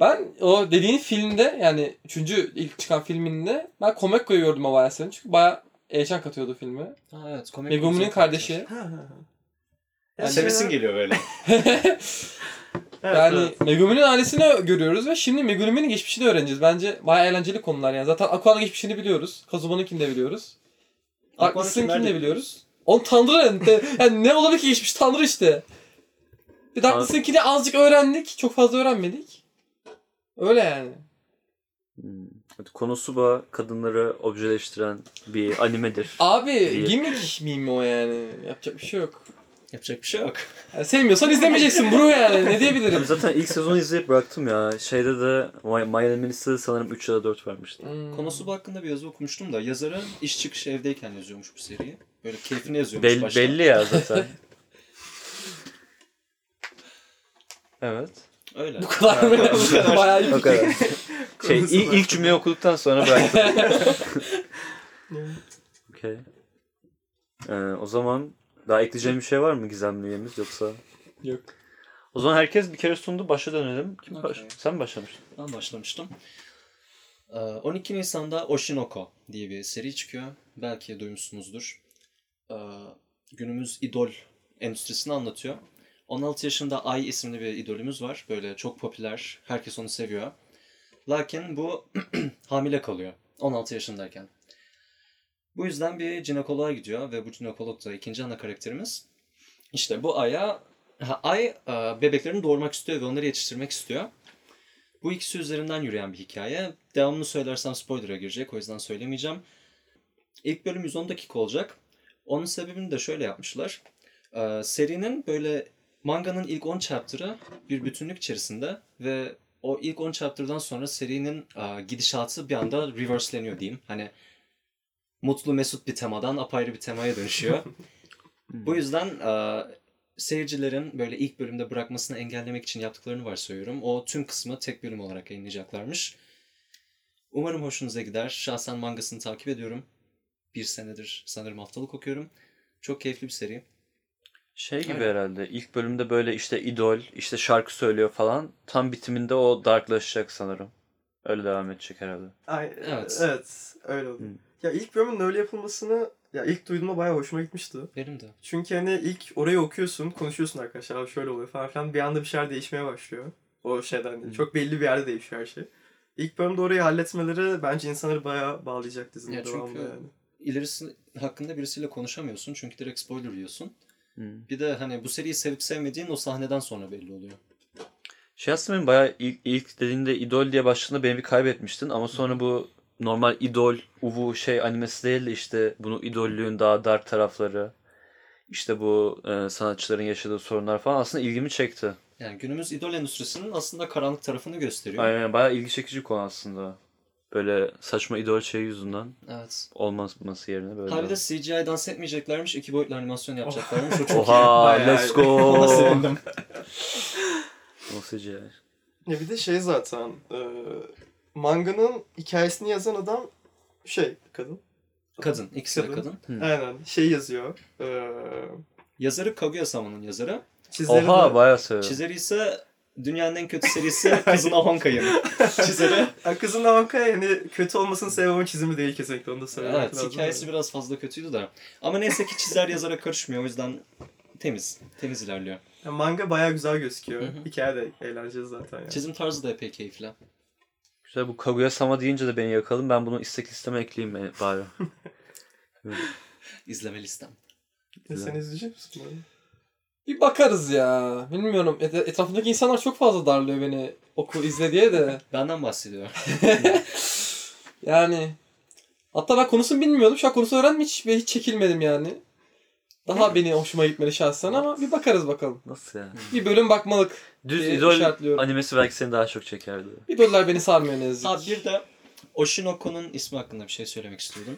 Speaker 4: Ben o dediğin filmde yani üçüncü ilk çıkan filminde ben komik gördüm o Vayasen'i çünkü bayağı heyecan katıyordu filme.
Speaker 2: Ha evet. komik
Speaker 4: Megumi'nin
Speaker 2: olacak.
Speaker 4: kardeşi.
Speaker 3: Ha, ha, ha. Şey,
Speaker 2: Yani Sevesin geliyor böyle.
Speaker 3: Evet,
Speaker 4: yani
Speaker 3: evet.
Speaker 4: Megumi'nin ailesini görüyoruz ve şimdi Megumi'nin geçmişini öğreneceğiz. Bence bayağı eğlenceli konular yani. Zaten Aqua'nın geçmişini biliyoruz. Kazuma'nınkini de biliyoruz. Darkness'ın kim
Speaker 2: kimler
Speaker 4: de
Speaker 2: de
Speaker 4: biliyoruz. Oğlum Tanrı de, yani ne olabilir ki geçmiş Tanrı işte. Bir Darkness'ınkini azıcık öğrendik. Çok fazla öğrenmedik. Öyle yani.
Speaker 1: Hmm. Evet, Konosuba kadınları objeleştiren bir animedir.
Speaker 4: Abi
Speaker 1: İyi.
Speaker 4: gimmick miyim o yani? Yapacak bir şey yok.
Speaker 2: Yapacak bir şey yok.
Speaker 4: Yani sevmiyorsan izlemeyeceksin bro yani. Ne diyebilirim?
Speaker 1: Zaten ilk sezonu izleyip bıraktım ya. Şeyde de My, My Minister sanırım 3 ya da 4 vermişti.
Speaker 4: Hmm.
Speaker 2: Konosuba hakkında bir yazı okumuştum da yazarı iş çıkışı evdeyken yazıyormuş bu seriyi. Böyle keyfini yazıyormuş
Speaker 1: Bel-
Speaker 2: başta.
Speaker 1: belli ya zaten. evet.
Speaker 2: Öyle.
Speaker 4: Hmm. Bu kadar mı? Bayağı
Speaker 1: O
Speaker 4: yük.
Speaker 1: kadar. şey,
Speaker 3: Konusu
Speaker 1: ilk, ilk cümleyi okuduktan sonra bıraktım. Okey. Ee, o zaman daha ekleyeceğim bir şey var mı gizemliyemiz yoksa?
Speaker 4: Yok.
Speaker 1: O zaman herkes bir kere sundu. Başa dönelim. Kim baş-
Speaker 2: Okey.
Speaker 1: Sen mi başlamıştın?
Speaker 2: Ben başlamıştım. Ee, 12 Nisan'da Oshinoko diye bir seri çıkıyor. Belki duymuşsunuzdur. Ee, Günümüz idol endüstrisini anlatıyor. 16 yaşında Ay isimli bir idolümüz var. Böyle çok popüler. Herkes onu seviyor. Lakin bu hamile kalıyor. 16 yaşındayken. Bu yüzden bir jinekoloğa gidiyor ve bu jinekolog da ikinci ana karakterimiz. İşte bu Ay'a ha, Ay e, bebeklerini doğurmak istiyor ve onları yetiştirmek istiyor. Bu ikisi üzerinden yürüyen bir hikaye. Devamını söylersem spoiler'a girecek o yüzden söylemeyeceğim. İlk bölüm 110 dakika olacak. Onun sebebini de şöyle yapmışlar. Ee, serinin böyle manganın ilk 10 chapter'ı bir bütünlük içerisinde ve o ilk 10 chapter'dan sonra serinin e, gidişatı bir anda reverseleniyor diyeyim. Hani mutlu mesut bir temadan apayrı bir temaya dönüşüyor. Bu yüzden e, seyircilerin böyle ilk bölümde bırakmasını engellemek için yaptıklarını varsayıyorum. O tüm kısmı tek bölüm olarak yayınlayacaklarmış. Umarım hoşunuza gider. Şahsen mangasını takip ediyorum. Bir senedir sanırım haftalık okuyorum. Çok keyifli bir seri.
Speaker 1: Şey gibi
Speaker 2: Aynen.
Speaker 1: herhalde ilk bölümde böyle işte idol, işte şarkı söylüyor falan. Tam bitiminde o darklaşacak sanırım. Öyle devam edecek herhalde.
Speaker 3: Ay,
Speaker 2: Evet.
Speaker 3: evet. öyle oldu.
Speaker 1: Hı.
Speaker 3: Ya ilk bölümün öyle yapılmasını ya ilk duyduğumda bayağı hoşuma gitmişti.
Speaker 2: Benim de.
Speaker 3: Çünkü hani ilk orayı okuyorsun, konuşuyorsun arkadaşlar abi şöyle oluyor falan filan. Bir anda bir şeyler değişmeye başlıyor. O şeyden değil.
Speaker 1: Hı.
Speaker 3: Çok belli bir yerde değişiyor her şey. İlk bölümde orayı halletmeleri bence insanları bayağı bağlayacak dizinin
Speaker 2: Ya çünkü-
Speaker 3: devamında yani.
Speaker 2: İlerisi hakkında birisiyle konuşamıyorsun çünkü direkt spoiler yiyorsun.
Speaker 1: Hmm.
Speaker 2: Bir de hani bu seriyi sevip sevmediğin o sahneden sonra belli oluyor.
Speaker 1: Şey aslında benim bayağı ilk, ilk dediğinde idol diye başladığında beni bir kaybetmiştin ama sonra bu normal idol, uvu şey animesi değil de işte bunu idollüğün daha dark tarafları, işte bu e, sanatçıların yaşadığı sorunlar falan aslında ilgimi çekti.
Speaker 2: Yani günümüz idol endüstrisinin aslında karanlık tarafını gösteriyor.
Speaker 1: Aynen bayağı ilgi çekici konu aslında. Böyle saçma idol şey yüzünden
Speaker 2: Evet.
Speaker 1: olmaması yerine böyle.
Speaker 2: Harbi de CGI dans etmeyeceklermiş. iki boyutlu animasyon yapacaklarmış. O çok iyi.
Speaker 1: Oha
Speaker 3: Bayağı
Speaker 1: let's
Speaker 3: iyi.
Speaker 1: go.
Speaker 2: Ona sevindim.
Speaker 1: Nasıl şey? ya?
Speaker 3: Ya bir de şey zaten e, manganın hikayesini yazan adam şey kadın.
Speaker 2: Kadın. ikisi de
Speaker 3: Kadın.
Speaker 2: kadın.
Speaker 1: Hı.
Speaker 3: Aynen şey yazıyor. E,
Speaker 2: Yazarı Kaguya-sama'nın yazarı.
Speaker 3: çizleri
Speaker 1: Oha
Speaker 3: de-
Speaker 1: bayağı seviyorum.
Speaker 2: Çizeri ise dünyanın en kötü serisi Kızına Honkay'ın. Çizeri.
Speaker 3: Ha, Kızın Avanka'ya yani kötü olmasının sebebi çizimi değil kesinlikle onu da söylemek
Speaker 2: evet
Speaker 3: lazım.
Speaker 2: hikayesi biraz fazla kötüydü de. Ama neyse ki çizer yazara karışmıyor. O yüzden temiz. Temiz ilerliyor.
Speaker 3: Ya manga bayağı güzel gözüküyor.
Speaker 2: Hı hı.
Speaker 3: Hikaye de eğlenceli zaten yani.
Speaker 2: Çizim tarzı da epey keyifli.
Speaker 1: Güzel bu Kaguya Sama deyince de beni yakalım. Ben bunu istek listeme ekleyeyim ben- bari.
Speaker 2: İzleme listem.
Speaker 3: Ya sen izleyecek misin bunu?
Speaker 4: Bir bakarız ya. Bilmiyorum. Et- etrafındaki insanlar çok fazla darlıyor beni oku izle diye de.
Speaker 2: Benden bahsediyor.
Speaker 4: Yani hatta ben konusunu bilmiyordum. Şu an konusunu öğrendim hiç ve hiç çekilmedim yani. Daha beni hoşuma gitmedi şahsen ama bir bakarız bakalım.
Speaker 1: Nasıl ya?
Speaker 4: Bir bölüm bakmalık.
Speaker 1: Düz
Speaker 4: Ee,
Speaker 1: idol
Speaker 4: işaretliyorum.
Speaker 1: animesi belki seni daha çok çekerdi.
Speaker 4: Bir bölümler beni sarmıyor ne yazık
Speaker 2: Ha
Speaker 4: ki.
Speaker 2: bir de Oshinoko'nun ismi hakkında bir şey söylemek istiyordum.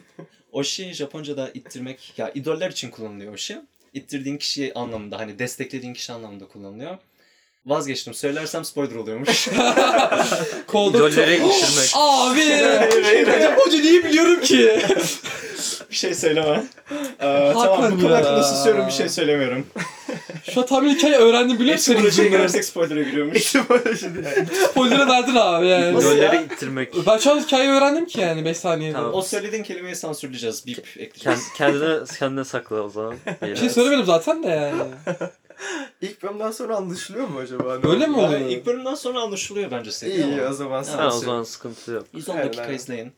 Speaker 2: Oshi Japonca'da ittirmek, ya idoller için kullanılıyor Oshi. İttirdiğin kişi anlamında, hani desteklediğin kişi anlamında kullanılıyor. Vazgeçtim. Söylersem spoiler oluyormuş.
Speaker 4: Kovdum.
Speaker 1: İdolleri geçirmek.
Speaker 4: Abi! Ben Japonca niye biliyorum ki?
Speaker 2: bir şey söyleme. Ee, tamam bu
Speaker 4: Hakikaten
Speaker 2: konu
Speaker 4: ya.
Speaker 2: hakkında susuyorum bir şey söylemiyorum.
Speaker 4: Şu an tam hikaye öğrendim biliyor musun?
Speaker 2: Hepsi buraya girersek spoiler'a giriyormuş.
Speaker 3: İşte böyle şey değil.
Speaker 4: Spoiler'ı verdin abi yani.
Speaker 2: Nasıl
Speaker 1: İdolleri
Speaker 2: ya?
Speaker 1: ittirmek.
Speaker 4: Ben şu an hikayeyi öğrendim ki yani 5 saniyede.
Speaker 1: Tamam.
Speaker 2: o söylediğin kelimeyi sansürleyeceğiz. Bip
Speaker 1: Kend,
Speaker 2: ekleyeceğiz.
Speaker 1: kendine, kendine sakla o zaman.
Speaker 4: Bir şey söylemedim zaten de yani.
Speaker 3: İlk bölümden sonra anlaşılıyor mu acaba? Ne
Speaker 4: Öyle mi
Speaker 3: oldu?
Speaker 4: oluyor?
Speaker 2: Yani Ee, ilk bölümden sonra anlaşılıyor bence sevgili
Speaker 3: İyi o
Speaker 2: ama.
Speaker 3: zaman sen
Speaker 1: Ha, o
Speaker 3: şey-
Speaker 1: zaman sıkıntı yok.
Speaker 2: 110
Speaker 3: Aynen,
Speaker 2: dakika
Speaker 3: aynen.
Speaker 2: izleyin.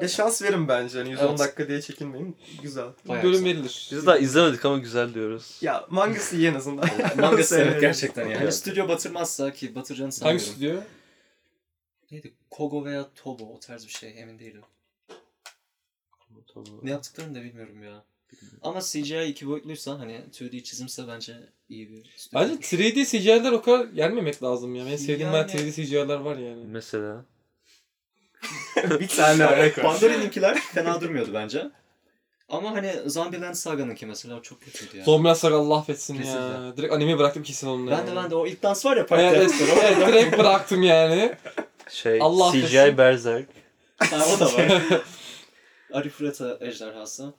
Speaker 3: Ya şans verin bence. Yani 110
Speaker 2: Evet.
Speaker 3: dakika diye çekinmeyin. Güzel.
Speaker 2: Bayağı
Speaker 4: bölüm
Speaker 2: güzel.
Speaker 4: verilir.
Speaker 1: Biz daha izlemedik ama güzel diyoruz.
Speaker 3: Ya mangası iyi en azından.
Speaker 2: Mangası evet
Speaker 3: Seyredin.
Speaker 2: gerçekten yani. Hani
Speaker 1: Evet.
Speaker 2: stüdyo batırmazsa ki batıracağını
Speaker 4: Hangi
Speaker 2: sanmıyorum.
Speaker 4: stüdyo?
Speaker 2: Neydi? Kogo veya Tobo o tarz bir şey emin değilim. Ne yaptıklarını da bilmiyorum ya. Ama CGI iki boyutluysa hani 2D çizimse bence iyi bir stüdyo.
Speaker 4: Bence 3D CGI'ler o kadar gelmemek lazım ya. Benim sevdiğim
Speaker 2: Yani-
Speaker 4: bayağı 3D CGI'ler var yani.
Speaker 1: Hmm. Mesela.
Speaker 3: bir tane örnek var.
Speaker 2: Bandari'ninkiler fena durmuyordu bence. Ama hani Zombieland Saga'nınki mesela çok kötüydü yani.
Speaker 4: Zombie Saga Allah affetsin ya.
Speaker 2: Kesinlikle.
Speaker 4: Direkt anime bıraktım kesin onunla
Speaker 2: ben de
Speaker 4: yani.
Speaker 2: ben de o ilk dans var ya parkta
Speaker 4: Evet,
Speaker 2: yaptıkları.
Speaker 4: evet, direkt bıraktım yani.
Speaker 1: Şey
Speaker 4: Allah
Speaker 1: CGI
Speaker 4: affetsin.
Speaker 1: Berserk.
Speaker 2: Ha, o da var. Arifureta ejderhası.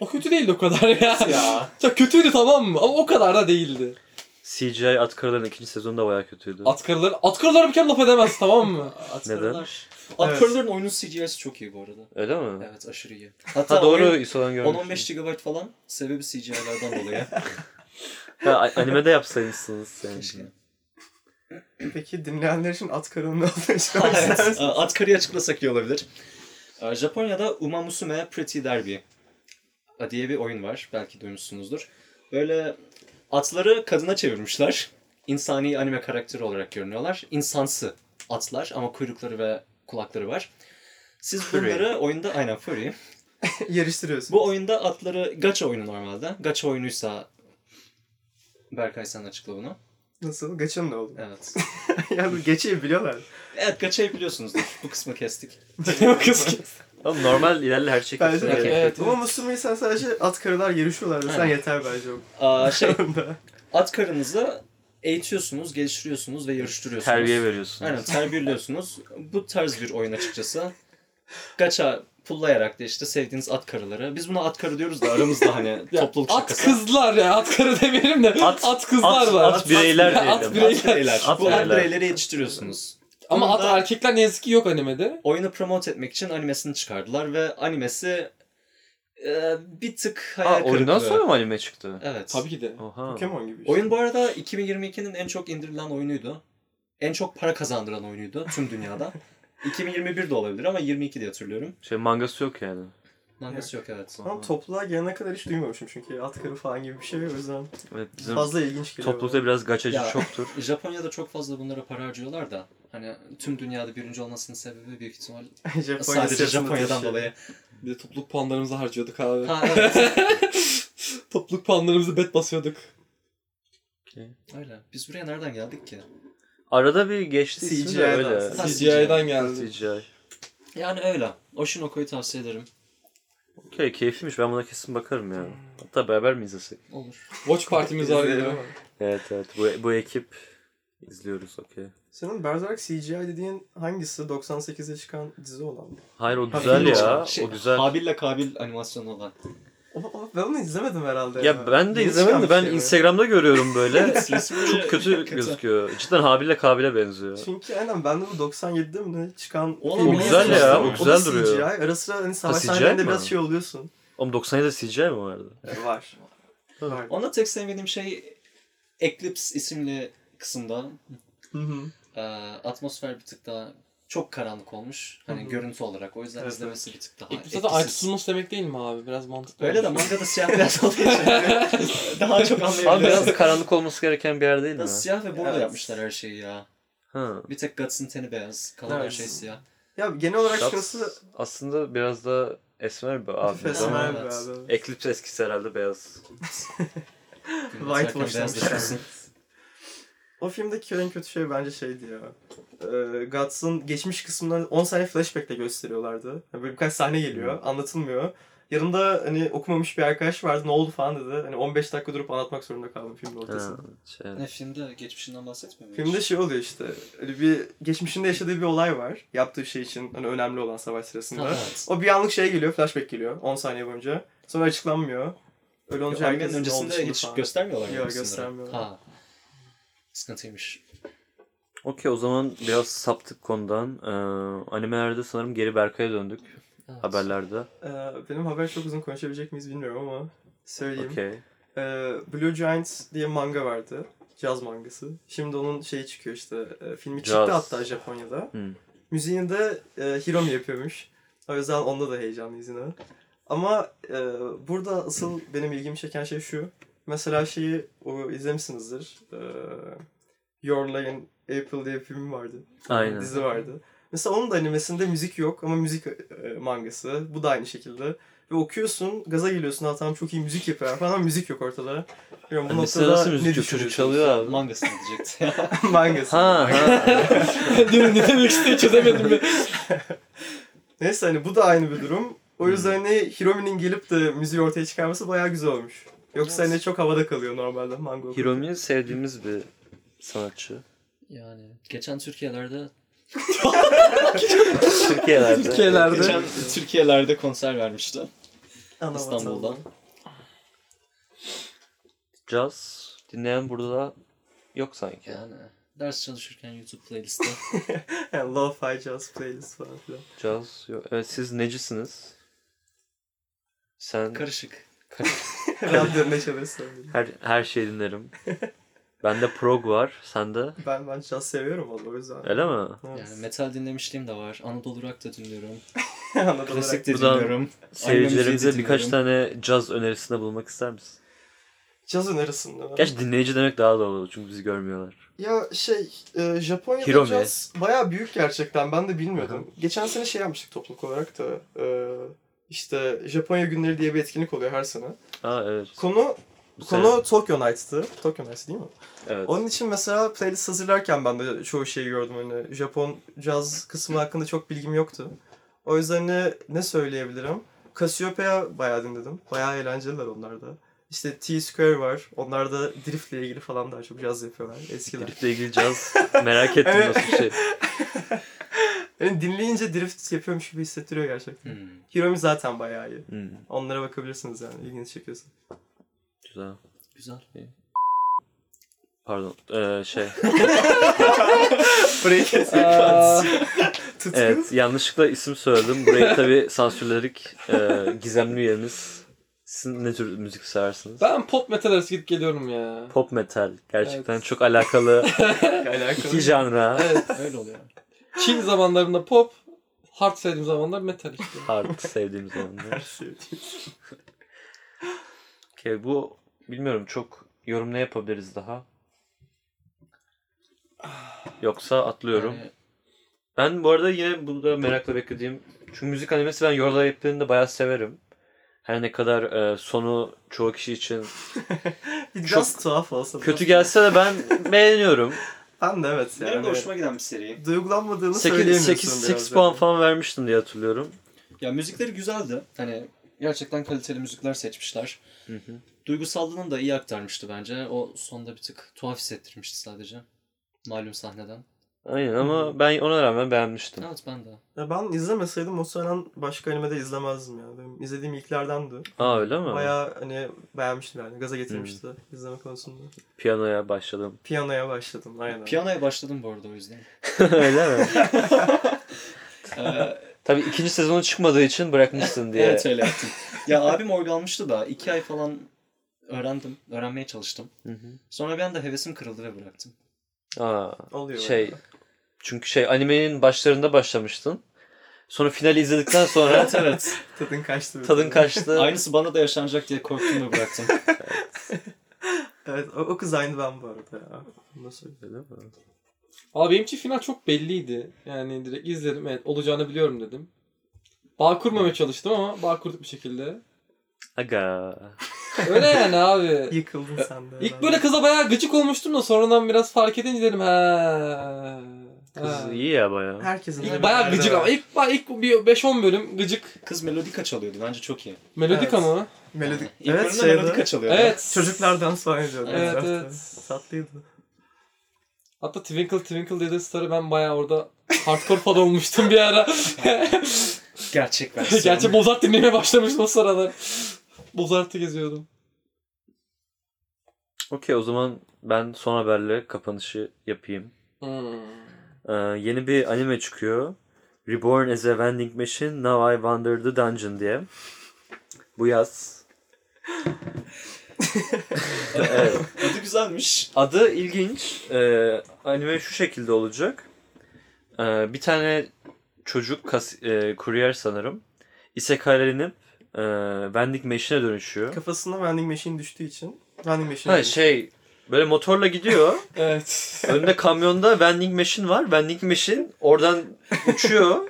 Speaker 4: O kötü değildi o kadar ya.
Speaker 3: Ya.
Speaker 4: Çok kötüydü tamam mı? Ama o kadar da değildi.
Speaker 1: CGI At Karıların ikinci sezonu da bayağı kötüydü.
Speaker 4: At karıları, at karıları bir kere laf edemez tamam mı?
Speaker 2: At
Speaker 1: Neden?
Speaker 2: Karılar- At
Speaker 3: Evet.
Speaker 2: Karıların oyunun CGI'si çok iyi bu arada.
Speaker 1: Öyle mi?
Speaker 2: Evet aşırı iyi. Hatta
Speaker 1: Ha doğru
Speaker 2: oyun
Speaker 1: İso'dan görmüştüm.
Speaker 2: 10-15 GB falan sebebi CGI'lerden dolayı.
Speaker 1: Ha, a- animede yapsaymışsınız yani.
Speaker 2: Keşke.
Speaker 3: Peki dinleyenler için at karının ne olduğunu söylemek ister
Speaker 2: Evet.
Speaker 3: misin?
Speaker 2: At karıyı açıklasak iyi olabilir. Ee, Japonya'da Uma Musume Pretty Derby diye bir oyun var. Belki duymuşsunuzdur. Böyle atları kadına çevirmişler. İnsani anime karakteri olarak görünüyorlar. İnsansı atlar ama kuyrukları ve kulakları var. Siz bunları oyunda aynen furry.
Speaker 3: Yarıştırıyorsun.
Speaker 2: Bu oyunda atları gacha oyunu normalde. Gacha oyunuysa Berkay sen açıkla bunu.
Speaker 3: Nasıl? Geçen ne oldu?
Speaker 2: Evet.
Speaker 3: ya bu geçeyi biliyorlar.
Speaker 2: Evet gacha'yı biliyorsunuzdur. Bu kısmı kestik.
Speaker 4: o kız ki.
Speaker 1: Oğlum normal ilerle her şey
Speaker 3: Bence
Speaker 1: kötü.
Speaker 3: de.
Speaker 2: Evet,
Speaker 4: evet.
Speaker 3: Ama Musume'yi sen sadece at karılar yarışıyorlar. Sen
Speaker 2: Aynen.
Speaker 3: yeter bence o
Speaker 2: Aa, şey
Speaker 3: konuda.
Speaker 2: at karınızı eğitiyorsunuz, geliştiriyorsunuz ve yarıştırıyorsunuz.
Speaker 1: Terbiye veriyorsun.
Speaker 2: Aynen terbiyeliyorsunuz. Bu tarz bir oyun açıkçası. Gacha pullayarak da işte sevdiğiniz at karıları. Biz buna at karı diyoruz da aramızda hani
Speaker 4: Ya,
Speaker 2: topluluk
Speaker 4: at
Speaker 2: şakası.
Speaker 4: kızlar ya. At karı demeyelim de.
Speaker 1: At-
Speaker 4: At, kızlar
Speaker 1: at-
Speaker 4: var.
Speaker 1: at bireyler
Speaker 4: at,
Speaker 1: diyelim.
Speaker 4: at bireyler.
Speaker 2: At bireyler.
Speaker 1: At
Speaker 2: Bu at
Speaker 1: bireyler.
Speaker 2: bireyleri yetiştiriyorsunuz.
Speaker 4: Ama
Speaker 2: Bunun
Speaker 4: at
Speaker 2: da-
Speaker 4: erkekler ne yazık ki yok animede.
Speaker 2: oyunu promote etmek için animesini çıkardılar ve animesi e, bir tık hayal
Speaker 1: Ha,
Speaker 2: kırıklığı.
Speaker 1: oyundan sonra mı anime çıktı?
Speaker 2: Evet.
Speaker 4: Tabii ki de.
Speaker 1: Oha.
Speaker 3: Pokemon gibi şey. işte.
Speaker 2: Oyun bu arada 2022'nin en çok indirilen oyunuydu. En çok para kazandıran oyunuydu tüm dünyada. 2021 de olabilir ama 22 diye hatırlıyorum.
Speaker 1: Şey mangası yok yani.
Speaker 2: Mangası yok evet.
Speaker 3: Ama topluluğa gelene kadar hiç duymamışım çünkü alt kırı falan gibi bir şey o yüzden
Speaker 1: Evet, bizim
Speaker 3: fazla ilginç geliyor.
Speaker 1: toplulukta biraz gaçacı
Speaker 2: Ya.
Speaker 1: çoktur.
Speaker 2: Japonya'da çok fazla bunlara para harcıyorlar da hani tüm dünyada birinci olmasının sebebi büyük ihtimal
Speaker 3: bana. Japonya
Speaker 2: sadece
Speaker 3: sırasında
Speaker 2: Japonya'dan
Speaker 3: taşıyor.
Speaker 2: dolayı.
Speaker 4: Bir de topluluk puanlarımızı harcıyorduk abi.
Speaker 2: Ha evet.
Speaker 4: topluluk puanlarımızı bet basıyorduk.
Speaker 2: Öyle. Biz buraya nereden geldik ki?
Speaker 1: Arada bir geçti ismi de
Speaker 3: CGI 'den
Speaker 1: öyle.
Speaker 2: aslında. Ha,
Speaker 4: CGI'den geldi.
Speaker 1: CGI.
Speaker 2: Yani öyle. Oshinoko'yu tavsiye ederim.
Speaker 1: Okey keyifliymiş. Ben buna kesin bakarım ya.
Speaker 3: Hmm.
Speaker 1: Hatta beraber mi izlesek?
Speaker 2: Olur.
Speaker 4: Watch partimiz var ya.
Speaker 1: Evet evet. Bu, bu ekip izliyoruz okey.
Speaker 3: Senin Berserk CGI dediğin hangisi? 98'e çıkan dizi olan mı?
Speaker 1: Hayır o
Speaker 3: Ha,
Speaker 1: güzel
Speaker 3: film şey.
Speaker 1: ya.
Speaker 3: çıkar.
Speaker 1: O güzel.
Speaker 2: Habil'le Şey, Kabil animasyonu olan.
Speaker 3: O, o- ben onu izlemedim herhalde.
Speaker 1: Ya ben de
Speaker 3: Yeni
Speaker 1: izlemedim de
Speaker 3: çıkan
Speaker 1: ben
Speaker 3: bir şey mi?
Speaker 1: Instagram'da görüyorum böyle.
Speaker 2: Resmi
Speaker 1: Çok kötü gözüküyor. Cidden Habil'le Kabil'e benziyor.
Speaker 3: Çünkü aynen ben de bu 97'de mi ne çıkan...
Speaker 2: Oğlum,
Speaker 3: filmi
Speaker 2: o güzel
Speaker 3: izlemiştim.
Speaker 2: ya, o
Speaker 3: da
Speaker 1: güzel duruyor.
Speaker 3: CGI. Ara sıra hani savaş
Speaker 1: CGI
Speaker 3: sahnelerinde
Speaker 1: mi?
Speaker 3: biraz şey oluyorsun.
Speaker 1: Oğlum 97'de CGI mi vardı?
Speaker 3: Var. Var.
Speaker 2: Onda tek sevmediğim şey Eclipse isimli kısımda
Speaker 3: Hı hı.
Speaker 2: e, atmosfer bir tık daha çok karanlık olmuş. Hani
Speaker 3: Hı hı.
Speaker 2: görüntü olarak. O yüzden
Speaker 3: Evet,
Speaker 2: izlemesi bir tık daha
Speaker 4: İlk
Speaker 2: etkisiz.
Speaker 4: zaten aksızmış demek değil mi abi? Biraz mantıklı.
Speaker 2: Öyle de mangada siyah beyaz olduğu için daha çok
Speaker 1: Abi biraz
Speaker 2: anlayabiliyorsun.
Speaker 1: da karanlık olması gereken bir yer değil mi?
Speaker 2: Nasıl siyah ve bordo
Speaker 3: Evet.
Speaker 2: yapmışlar her şeyi ya.
Speaker 1: Ha.
Speaker 2: Bir tek Guts'ın teni beyaz. Kalan her
Speaker 3: Evet.
Speaker 2: şey siyah.
Speaker 3: Ya genel olarak
Speaker 1: Şat-
Speaker 3: şurası
Speaker 1: Aslında biraz da esmer bir
Speaker 3: hafif
Speaker 1: abi.
Speaker 3: esmer
Speaker 1: Ama
Speaker 3: bir
Speaker 2: Evet.
Speaker 3: abi.
Speaker 1: Eclipse eskisi herhalde beyaz.
Speaker 2: Gün
Speaker 3: White
Speaker 2: batarken beyazlaşıyorsun.
Speaker 3: wash'tan O filmdeki en kötü şey bence şeydi ya. Ee, Guts'ın geçmiş kısmından 10 saniye flashback'le gösteriyorlardı. Yani böyle birkaç sahne geliyor,
Speaker 2: Hmm.
Speaker 3: anlatılmıyor. Yanımda hani okumamış bir arkadaş vardı, ne oldu falan dedi. Hani 15 dakika durup anlatmak zorunda kaldım filmin
Speaker 1: Ha,
Speaker 3: ortasında.
Speaker 1: şey.
Speaker 2: Ne filmde geçmişinden bahsetmiyor muyuz?
Speaker 3: Filmde şey oluyor işte, öyle bir geçmişinde yaşadığı bir olay var. Yaptığı şey için hani önemli olan savaş
Speaker 2: Ha,
Speaker 3: sırasında.
Speaker 2: evet.
Speaker 3: O bir anlık şey geliyor, flashback geliyor 10 saniye boyunca. Sonra açıklanmıyor. Öyle
Speaker 2: Yok,
Speaker 3: olunca
Speaker 2: Ange'nin
Speaker 3: herkesin ne oldu
Speaker 2: öncesinde
Speaker 3: şimdi
Speaker 2: hiç
Speaker 3: falan.
Speaker 2: göstermiyorlar mı
Speaker 3: Yok,
Speaker 2: sınırı?
Speaker 3: göstermiyorlar.
Speaker 2: Ha. Sıkıntıymış.
Speaker 1: Okey o zaman biraz saptık konudan. Ee, animelerde sanırım geri Berkay'a döndük
Speaker 2: Evet.
Speaker 1: haberlerde.
Speaker 3: Ee, benim haber çok uzun konuşabilecek miyiz bilmiyorum ama söyleyeyim.
Speaker 1: Okey.
Speaker 3: Ee, Blue Giant diye manga vardı. Caz mangası. Şimdi onun şeyi çıkıyor işte. e, filmi
Speaker 1: Caz.
Speaker 3: çıktı hatta Japonya'da.
Speaker 1: Hmm.
Speaker 3: Müziğini de e, Hiromi yapıyormuş. O yüzden onda da heyecanlıyız yine. Ama e, burada asıl benim ilgimi çeken şey şu. Mesela şeyi o izlemişsinizdir. E, Your Lie in April diye bir film vardı.
Speaker 1: Aynen.
Speaker 3: Dizi vardı. Mesela onun da animesinde müzik yok ama müzik e, mangası. Bu da aynı şekilde. Ve okuyorsun, gaza geliyorsun. Ha tamam çok iyi müzik yapıyor falan ama müzik yok ortada. Bilmiyorum, bu
Speaker 1: Lisede
Speaker 3: noktada
Speaker 1: Hani nasıl
Speaker 3: ne
Speaker 1: müzik yok? Çocuk
Speaker 3: düşünüyorsunuz?
Speaker 1: çalıyor abi.
Speaker 2: Mangasını diyecekti.
Speaker 3: mangası.
Speaker 1: Ha ha.
Speaker 4: Diyorum ne demek istediğini çözemedim ben.
Speaker 3: Neyse hani bu da aynı bir durum.
Speaker 1: Hmm.
Speaker 3: O yüzden hani Hiromi'nin gelip de müziği ortaya çıkarması bayağı güzel olmuş. Yoksa
Speaker 2: Evet.
Speaker 3: hani çok havada kalıyor normalde manga. okuyor.
Speaker 1: Hiromi sevdiğimiz bir sanatçı.
Speaker 2: yani geçen Türkiye'lerde
Speaker 1: Türkiye'lerde.
Speaker 4: Türkiye'lerde.
Speaker 2: geçen Türkiye'lerde konser vermişti.
Speaker 3: Ana vatan.
Speaker 2: İstanbul'dan.
Speaker 1: Caz dinleyen burada da yok sanki.
Speaker 2: Yani ders çalışırken YouTube playlistte.
Speaker 3: Yani lo-fi jazz playlist falan filan.
Speaker 1: Caz yok. Evet siz necisiniz? Sen
Speaker 2: Karışık.
Speaker 3: Radyo ne çalıyorsa. öyle.
Speaker 1: her her şeyi dinlerim. Bende prog var. Sende?
Speaker 3: Ben ben jazz seviyorum valla o yüzden.
Speaker 1: Öyle mi?
Speaker 3: Evet.
Speaker 2: Yani metal dinlemişliğim de var. Anadolu Rock da dinliyorum.
Speaker 3: Anadolu
Speaker 2: Klasik
Speaker 3: Rock.
Speaker 2: de
Speaker 1: Buradan
Speaker 2: dinliyorum.
Speaker 1: Seyircilerimize
Speaker 2: müziği
Speaker 1: birkaç tane caz önerisinde bulunmak ister misin?
Speaker 3: Caz önerisinde. ben-
Speaker 1: Gerçi dinleyici demek daha doğru çünkü bizi görmüyorlar.
Speaker 3: Ya şey, e, Japonya'da
Speaker 1: Hiromi.
Speaker 3: caz bayağı büyük gerçekten. Ben de bilmiyordum. Geçen sene şey yapmıştık topluluk olarak da. e, işte Japonya günleri diye bir etkinlik oluyor her sene.
Speaker 1: Aa evet.
Speaker 3: Konu
Speaker 1: Bu sene-
Speaker 3: konu Tokyo Night'tı. Tokyo Nights değil mi?
Speaker 1: evet.
Speaker 3: Onun için mesela playlist hazırlarken ben de çoğu şeyi gördüm. Hani Japon caz kısmı hakkında çok bilgim yoktu. O yüzden ne, ne söyleyebilirim? Cassiopeia bayağı dinledim. Bayağı eğlenceliler onlar da. İşte T-Square var. Onlar da drift'le ilgili falan daha çok caz yapıyorlar. Eskiler.
Speaker 1: Herifle ilgili caz merak ettim
Speaker 3: Evet.
Speaker 1: nasıl bir şey.
Speaker 3: Yani dinleyince drift yapıyormuş gibi hissettiriyor gerçekten.
Speaker 2: Hmm.
Speaker 3: Hiromi zaten bayağı iyi.
Speaker 1: Hmm,
Speaker 3: Onlara bakabilirsiniz yani. ilginizi çekiyorsa.
Speaker 1: güzel.
Speaker 2: Güzel.
Speaker 1: Pardon. Ee, şey.
Speaker 3: Burayı kesin.
Speaker 4: Aa,
Speaker 3: Tutku.
Speaker 1: Evet yanlışlıkla isim söyledim. Burayı tabii sansürledik. Ee, gizemli üyemiz. Siz ne tür müzik seversiniz?
Speaker 4: ben pop metal arası gidip geliyorum ya.
Speaker 1: Pop metal. Gerçekten
Speaker 4: Evet.
Speaker 1: çok alakalı
Speaker 3: Alakalı.
Speaker 1: iki janra.
Speaker 4: Evet.
Speaker 2: Öyle oluyor.
Speaker 4: Çin zamanlarında pop, Hard sevdiğim zamanlar metal işte.
Speaker 1: Hard sevdiğim zamanlar.
Speaker 3: Her şey.
Speaker 1: Okey bu bilmiyorum çok yorum ne yapabiliriz daha? Yoksa atlıyorum.
Speaker 2: Yani
Speaker 1: Ben bu arada yine bunu da merakla beklediğim. Çünkü müzik animesi ben Yorla Yapı'nı da bayağı severim. Her ne kadar e, sonu çoğu kişi için
Speaker 3: Biraz tuhaf olsa. da.
Speaker 1: kötü gelse de ben beğeniyorum.
Speaker 3: Ben de evet
Speaker 2: benim de
Speaker 3: yani. hani
Speaker 2: hoşuma giden bir seri.
Speaker 3: Duygulanmadığını
Speaker 1: 8,
Speaker 3: söyleyemiyorsun
Speaker 1: 8,
Speaker 3: biraz
Speaker 1: 8
Speaker 3: yani.
Speaker 1: puan falan vermiştim diye hatırlıyorum.
Speaker 2: Ya müzikleri güzeldi. Hani gerçekten kaliteli müzikler seçmişler.
Speaker 1: Hı hı.
Speaker 2: Duygusallığını da iyi aktarmıştı bence. O sonda bir tık tuhaf hissettirmişti sadece. Malum sahneden.
Speaker 1: Aynen ama ben ona rağmen beğenmiştim.
Speaker 2: Evet ben de.
Speaker 3: Ya ben izlemeseydim muhtemelen başka animede izlemezdim yani. Benim izlediğim ilklerdendi.
Speaker 1: Aa öyle mi?
Speaker 3: Bayağı hani beğenmiştim yani. Gaza getirmişti izleme konusunda.
Speaker 1: Piyanoya başladım.
Speaker 3: Piyanoya başladım aynen.
Speaker 2: Piyanoya başladım bu arada o yüzden.
Speaker 1: öyle mi?
Speaker 2: Ee,
Speaker 1: Tabii ikinci sezonu çıkmadığı için bırakmışsın diye.
Speaker 2: evet öyle yaptım. ya abim organmıştı da iki ay falan öğrendim. Öğrenmeye çalıştım.
Speaker 1: Hı hı.
Speaker 2: Sonra bir anda hevesim kırıldı ve bıraktım.
Speaker 1: Aa,
Speaker 3: Oluyor.
Speaker 1: şey çünkü şey animenin başlarında başlamıştın. Sonra finali izledikten sonra
Speaker 2: Evet evet.
Speaker 3: Tadın kaçtı. bir
Speaker 1: tadın
Speaker 3: türlü.
Speaker 1: kaçtı.
Speaker 2: Aynısı bana da yaşanacak diye korktum ve bıraktım.
Speaker 3: Evet o, o kız aynı ben bu arada ya. Bunu da söyleyeyim.
Speaker 1: Öyle mi?
Speaker 4: Valla benim için final çok belliydi. Yani direkt izledim evet olacağını biliyorum dedim. Bağ kurmamaya çalıştım ama bağ kurduk bir şekilde.
Speaker 1: Aga.
Speaker 4: Öyle yani abi.
Speaker 3: Yıkıldın sen de.
Speaker 4: İlk
Speaker 3: Ben-
Speaker 4: böyle kıza bayağı gıcık olmuştum da sonradan biraz fark edince dedim ha.
Speaker 1: Kız
Speaker 4: ha.
Speaker 1: iyi ya bayağı.
Speaker 3: Herkesin
Speaker 4: İlk
Speaker 3: öyle
Speaker 4: bayağı
Speaker 3: derdi
Speaker 4: gıcık
Speaker 3: var.
Speaker 4: ama ilk, ilk bir 5-10 bölüm gıcık.
Speaker 2: Kız melodika çalıyordu bence çok iyi.
Speaker 4: Melodik
Speaker 3: Evet.
Speaker 4: ama.
Speaker 3: Melodik.
Speaker 2: İlk
Speaker 3: evet şey
Speaker 2: bölümde
Speaker 3: şeydi.
Speaker 2: melodika çalıyordu.
Speaker 4: Evet.
Speaker 3: Çocuklar dans falan ediyordu.
Speaker 4: Evet,
Speaker 3: etrafta.
Speaker 4: evet.
Speaker 3: Tatlıydı.
Speaker 4: Hatta Twinkle Twinkle Little Star'ı ben bayağı orada hardcore fan olmuştum bir ara.
Speaker 2: Gerçek versiyonu.
Speaker 4: Gerçi Mozart dinlemeye başlamıştım o sıralar. Mozart'ı geziyordum.
Speaker 1: Okey o zaman ben son haberle kapanışı yapayım.
Speaker 4: Hmm.
Speaker 1: Ee, yeni bir anime çıkıyor. Reborn as a Vending Machine, Now I Wander the Dungeon diye. Bu yaz. evet.
Speaker 2: Adı güzelmiş.
Speaker 1: Adı ilginç. Ee, anime şu şekilde olacak. Ee, bir tane çocuk kas- e, kuryer sanırım. İsekai'lenip e, vending machine'e dönüşüyor.
Speaker 3: Kafasına vending machine düştüğü için vending machine.
Speaker 1: Ha şey böyle motorla gidiyor.
Speaker 4: Evet.
Speaker 1: Önünde kamyonda vending machine var. Vending machine oradan uçuyor.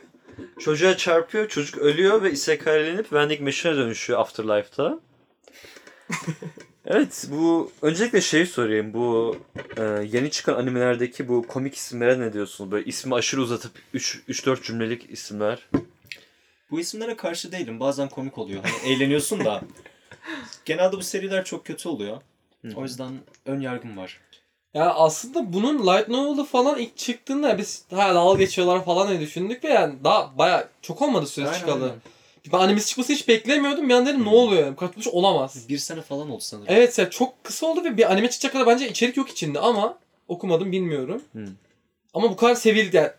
Speaker 1: Çocuğa çarpıyor. Çocuk ölüyor ve isekai'lenip vending machine'e dönüşüyor Afterlife'da. evet bu öncelikle şeyi sorayım. Bu e, yeni çıkan animelerdeki bu komik isimlere ne diyorsunuz? Böyle ismi aşırı uzatıp 3-4 cümlelik isimler.
Speaker 2: Bu isimlere karşı değilim. Bazen komik oluyor. Hani eğleniyorsun da. Genelde bu seriler çok kötü oluyor. O yüzden ön yargım var.
Speaker 4: Ya aslında bunun Light Novel'ı falan ilk çıktığında biz ha dalga geçiyorlar falan diye düşündük ve yani daha baya çok olmadı süresi
Speaker 2: Aynen,
Speaker 4: çıkalı.
Speaker 2: aynen.
Speaker 4: Ben animesi çıkması hiç beklemiyordum. Bir an dedim ne oluyor? Kaçmış olamaz.
Speaker 2: Bir sene falan oldu sanırım.
Speaker 4: Evet ya çok kısa oldu ve bir anime çıkacak kadar bence içerik yok içinde ama okumadım bilmiyorum.
Speaker 1: Hı.
Speaker 4: Ama bu kadar seviyeli yani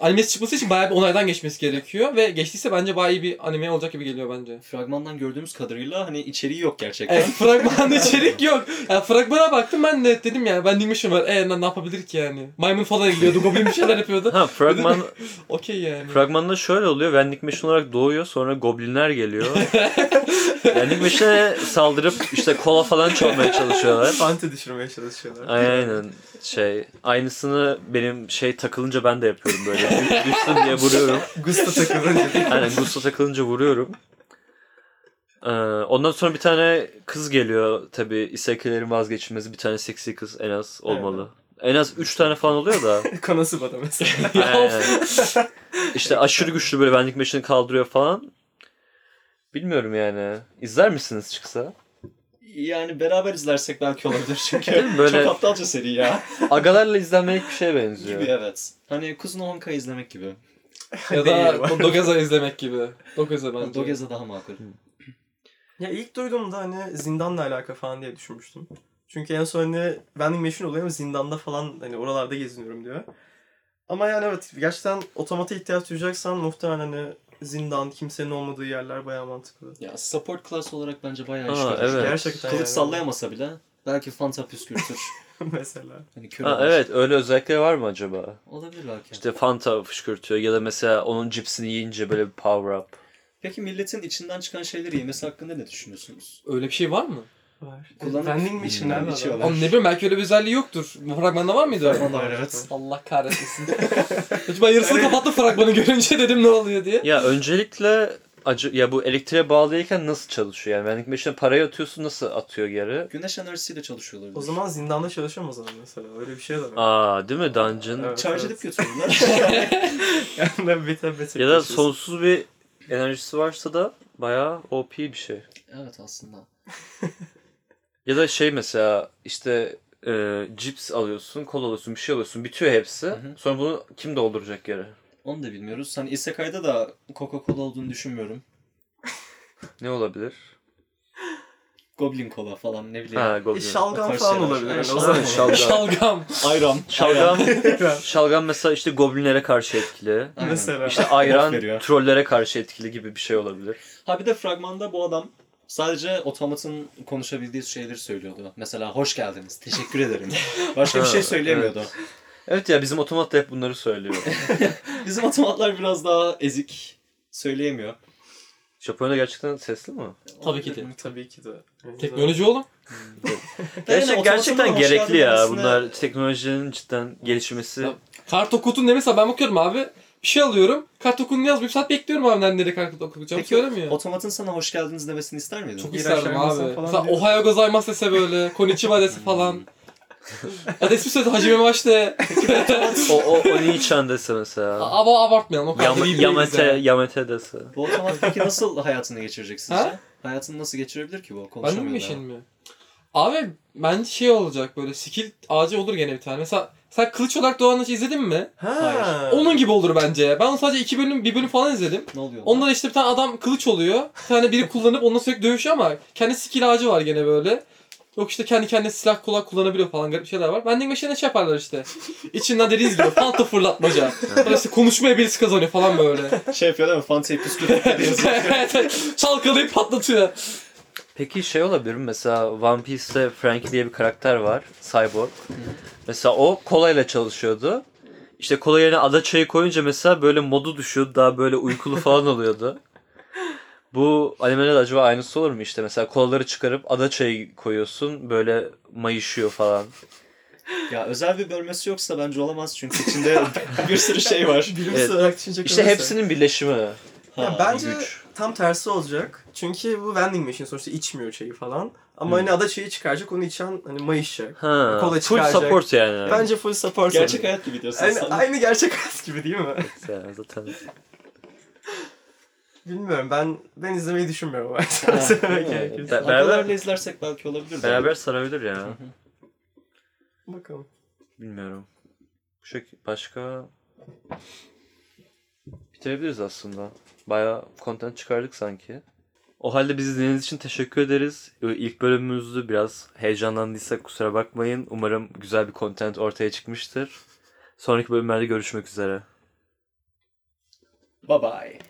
Speaker 4: animesi çıkması için bayağı bir onaydan geçmesi gerekiyor ve geçtiyse bence bayağı iyi bir anime olacak gibi geliyor bence.
Speaker 2: Fragmandan gördüğümüz kadarıyla hani içeriği yok gerçekten.
Speaker 4: Evet E, fragmanda içerik yok. Yani fragmana baktım ben de dedim ya ben Dimiş'im var. E ne- ne yapabilir ki yani? Maymun falan gidiyordu. Goblin bir şeyler yapıyordu.
Speaker 1: Ha fragman
Speaker 4: Okey yani.
Speaker 1: fragmanda şöyle oluyor. Vending machine olarak doğuyor. Sonra goblinler geliyor. vending machine'e saldırıp işte kola falan çalmaya çalışıyorlar.
Speaker 3: Panti düşürmeye çalışıyorlar.
Speaker 1: Aynen şey aynısını benim şey takılınca ben de yapıyorum böyle Dü- düşsün diye vuruyorum.
Speaker 3: Gusta takılınca.
Speaker 1: Aynen Gusta takılınca vuruyorum. Ee, ondan sonra bir tane kız geliyor tabi isekelerin vazgeçilmezi bir tane seksi kız en az olmalı. En az 3 tane falan oluyor da.
Speaker 3: Konosuba da mesela.
Speaker 1: Aynen. İşte aşırı güçlü böyle benlik meşini kaldırıyor falan. Bilmiyorum yani. İzler misiniz çıksa?
Speaker 2: Yani beraber izlersek belki olabilir
Speaker 1: Değil
Speaker 2: çünkü
Speaker 1: mi? Böyle-
Speaker 2: çok aptalca seri ya.
Speaker 1: Agalarla izlenmelik bir şeye benziyor.
Speaker 2: gibi evet. Hani Kuzuno Honkai izlemek gibi.
Speaker 4: ya
Speaker 3: Değil
Speaker 4: da
Speaker 3: bu.
Speaker 4: Dogeza izlemek gibi. Dogeza bence.
Speaker 2: Dogeza daha makul.
Speaker 3: Ya ilk duyduğumda hani zindanla alaka falan diye düşünmüştüm. Çünkü en son hani vending machine oluyor ama zindanda falan hani oralarda geziniyorum diyor. Ama yani evet gerçekten otomata ihtiyaç duyacaksan muhtemelen hani zindan, kimsenin olmadığı yerler bayağı mantıklı.
Speaker 2: Ya support class olarak bence bayağı
Speaker 1: Aa,
Speaker 2: iş görür.
Speaker 1: evet.
Speaker 3: Gerçekten
Speaker 2: Kılıç
Speaker 3: yani.
Speaker 2: sallayamasa bile Belki Fanta püskürtür.
Speaker 3: mesela.
Speaker 2: hani kör
Speaker 1: Ha,
Speaker 2: olur.
Speaker 1: evet öyle özellikleri var mı acaba?
Speaker 2: Olabilir belki.
Speaker 1: İşte Fanta fışkırtıyor ya da mesela onun cipsini yiyince böyle bir power up.
Speaker 2: Peki milletin içinden çıkan şeyleri yemesi hakkında ne düşünüyorsunuz?
Speaker 4: Öyle bir şey var mı?
Speaker 3: Var.
Speaker 2: Kullanıp-
Speaker 3: Vending mi içinden
Speaker 2: Hmm.
Speaker 3: mi
Speaker 2: İçiyorlar.
Speaker 4: Oğlum ne bileyim belki öyle bir özelliği yoktur. Bu fragmanda var mıydı öyle?
Speaker 2: Var evet.
Speaker 4: Allah kahretmesin. Çünkü ben yarısını kapattım fragmanı görünce dedim ne oluyor diye.
Speaker 1: Ya öncelikle acı ya bu elektriğe bağlıyken nasıl çalışıyor yani? Vending machine'e parayı atıyorsun nasıl atıyor geri?
Speaker 2: Güneş enerjisiyle çalışıyor olabilir.
Speaker 3: O zaman zindanda çalışıyorum o zaman mesela. Öyle bir şey de var.
Speaker 1: Aa değil mi dungeon?
Speaker 3: Evet,
Speaker 2: Charge
Speaker 3: evet.
Speaker 2: edip götürürler.
Speaker 3: Yani beta beta.
Speaker 1: Ya da sonsuz bir enerjisi varsa da bayağı OP bir şey.
Speaker 2: evet aslında.
Speaker 1: Ya da şey mesela işte e, cips alıyorsun, kol alıyorsun, bir şey alıyorsun. Bitiyor hepsi.
Speaker 2: hı.
Speaker 1: Sonra bunu kim dolduracak geri?
Speaker 2: Onu da bilmiyoruz. Hani Isekai'da da Coca-Cola olduğunu düşünmüyorum.
Speaker 1: Ne olabilir?
Speaker 2: Goblin Cola falan ne bileyim.
Speaker 1: Ha, Goblin.
Speaker 3: Şalgam
Speaker 2: O tarz
Speaker 3: falan
Speaker 2: şeyler.
Speaker 3: olabilir. Yani o
Speaker 2: Şalgam.
Speaker 3: zaman
Speaker 1: Şalgam.
Speaker 4: Şalgam.
Speaker 2: Ayran.
Speaker 1: Şalgam, şalgam mesela işte goblinlere karşı etkili.
Speaker 2: Aynen.
Speaker 3: mesela.
Speaker 1: İşte ayran
Speaker 2: veriyor.
Speaker 1: trollere karşı etkili gibi bir şey olabilir.
Speaker 2: Ha bir de fragmanda bu adam sadece otomatın konuşabildiği şeyleri söylüyordu. Mesela hoş geldiniz, teşekkür ederim. Başka bir
Speaker 1: Ha,
Speaker 2: şey söyleyemiyordu.
Speaker 1: Evet ya bizim otomat da hep bunları söylüyor.
Speaker 2: Bizim otomatlar biraz daha ezik söyleyemiyor.
Speaker 1: Japonya'da gerçekten sesli mi?
Speaker 4: Tabii ki de.
Speaker 3: Tabii ki de.
Speaker 4: Teknoloji oğlum.
Speaker 1: Gerçekten,
Speaker 2: otomatın
Speaker 1: gerçekten
Speaker 2: hoş
Speaker 1: gerekli
Speaker 2: geldin
Speaker 1: ya.
Speaker 2: demesine-
Speaker 1: Bunlar teknolojinin cidden gelişmesi.
Speaker 4: Ya, Kart okutun ne mesela ben bakıyorum abi. Bir şey alıyorum. Kart okunun yaz bir saat bekliyorum abi nerede kart okutacağım.
Speaker 2: Peki,
Speaker 4: Söylemiyor.
Speaker 2: Otomatın sana hoş geldiniz demesini ister miydin?
Speaker 4: Çok
Speaker 3: İğrenç
Speaker 4: isterdim
Speaker 3: olmasın
Speaker 4: abi.
Speaker 3: falan
Speaker 4: Mesela
Speaker 3: diyor.
Speaker 4: Ohio gozaimasu dese böyle. Konnichiwa dese falan. ya da şey ismi söyledi Hajime Maşte.
Speaker 1: o o Oni-chan dese mesela.
Speaker 4: Ama abartmayalım o kadar da
Speaker 1: Yam-
Speaker 4: iyi değiliz
Speaker 1: Yamete,
Speaker 4: yani.
Speaker 1: Yamete dese.
Speaker 2: Bu otomat peki nasıl hayatını geçirecek sizce?
Speaker 4: Ha?
Speaker 2: Hayatını nasıl geçirebilir ki bu?
Speaker 4: Ben de
Speaker 2: Konuşamıyor
Speaker 4: mi
Speaker 2: daha.
Speaker 4: işin mi? Abi bence şey olacak böyle skill ağacı olur gene bir tane. Mesela sen Kılıç olarak Doğan'ı hiç izledin mi?
Speaker 3: Ha.
Speaker 4: Onun gibi olur bence ya. Ben onu sadece iki bölüm, bir bölüm falan izledim.
Speaker 2: Ne oluyor?
Speaker 4: Onda da işte bir tane adam kılıç oluyor. Bir tane biri kullanıp onunla sürekli dövüşüyor ama kendi skill ağacı var gene böyle. Yok işte kendi kendine silah kolay kullanabiliyor falan garip şeyler var. Bending Machine'e şey yaparlar işte. İçinden dediğiniz gibi fanta fırlatmaca. Sonra işte konuşmaya birisi kazanıyor falan böyle.
Speaker 2: Şey yapıyor değil mi? Fantayı püskürtüyor.
Speaker 4: Çalkalayıp patlatıyor.
Speaker 1: Peki şey olabilir mi? Mesela One Piece'te Frank diye bir karakter var. Cyborg. Mesela o kolayla çalışıyordu. İşte kola yerine ada çayı koyunca mesela böyle modu düşüyordu. Daha böyle uykulu falan oluyordu. Bu animede de acaba aynısı olur mu? İşte mesela kolaları çıkarıp ada çayı koyuyorsun. Böyle mayışıyor falan.
Speaker 2: ya özel bir bölmesi yoksa bence olamaz çünkü içinde bir sürü şey var.
Speaker 3: Bilimsel
Speaker 1: Evet.
Speaker 3: olarak düşünecek
Speaker 1: İşte
Speaker 3: olursak.
Speaker 1: hepsinin birleşimi.
Speaker 3: Ya
Speaker 2: Ha,
Speaker 3: bence
Speaker 1: güç.
Speaker 3: tam tersi olacak. Çünkü bu vending machine sonuçta içmiyor çayı falan. Ama
Speaker 1: Hı.
Speaker 3: hani ada çayı çıkaracak onu içen hani mayışacak.
Speaker 1: Ha,
Speaker 3: Kola
Speaker 1: full
Speaker 3: çıkaracak.
Speaker 1: support yani.
Speaker 3: Bence full support.
Speaker 2: Gerçek hayat gibi diyorsun
Speaker 3: aynı,
Speaker 2: sen.
Speaker 3: aynı gerçek hayat gibi değil mi?
Speaker 1: Yani zaten.
Speaker 3: Bilmiyorum ben ben izlemeyi düşünmüyorum.
Speaker 2: Ha,
Speaker 3: Söylemek
Speaker 2: ha.
Speaker 3: gerekirse.
Speaker 1: Ben- Beraber-
Speaker 2: Adalarla izlersek belki olabilir. de.
Speaker 1: Beraber sarabilir ya.
Speaker 3: Bakalım.
Speaker 1: Bilmiyorum. Bu şek- başka bitirebiliriz aslında. Bayağı content çıkardık sanki. O halde bizi dinlediğiniz için teşekkür ederiz. Ee, İlk bölümümüzü biraz heyecanlandıysak kusura bakmayın. Umarım güzel bir content ortaya çıkmıştır. Sonraki bölümlerde görüşmek üzere.
Speaker 2: Bye bye.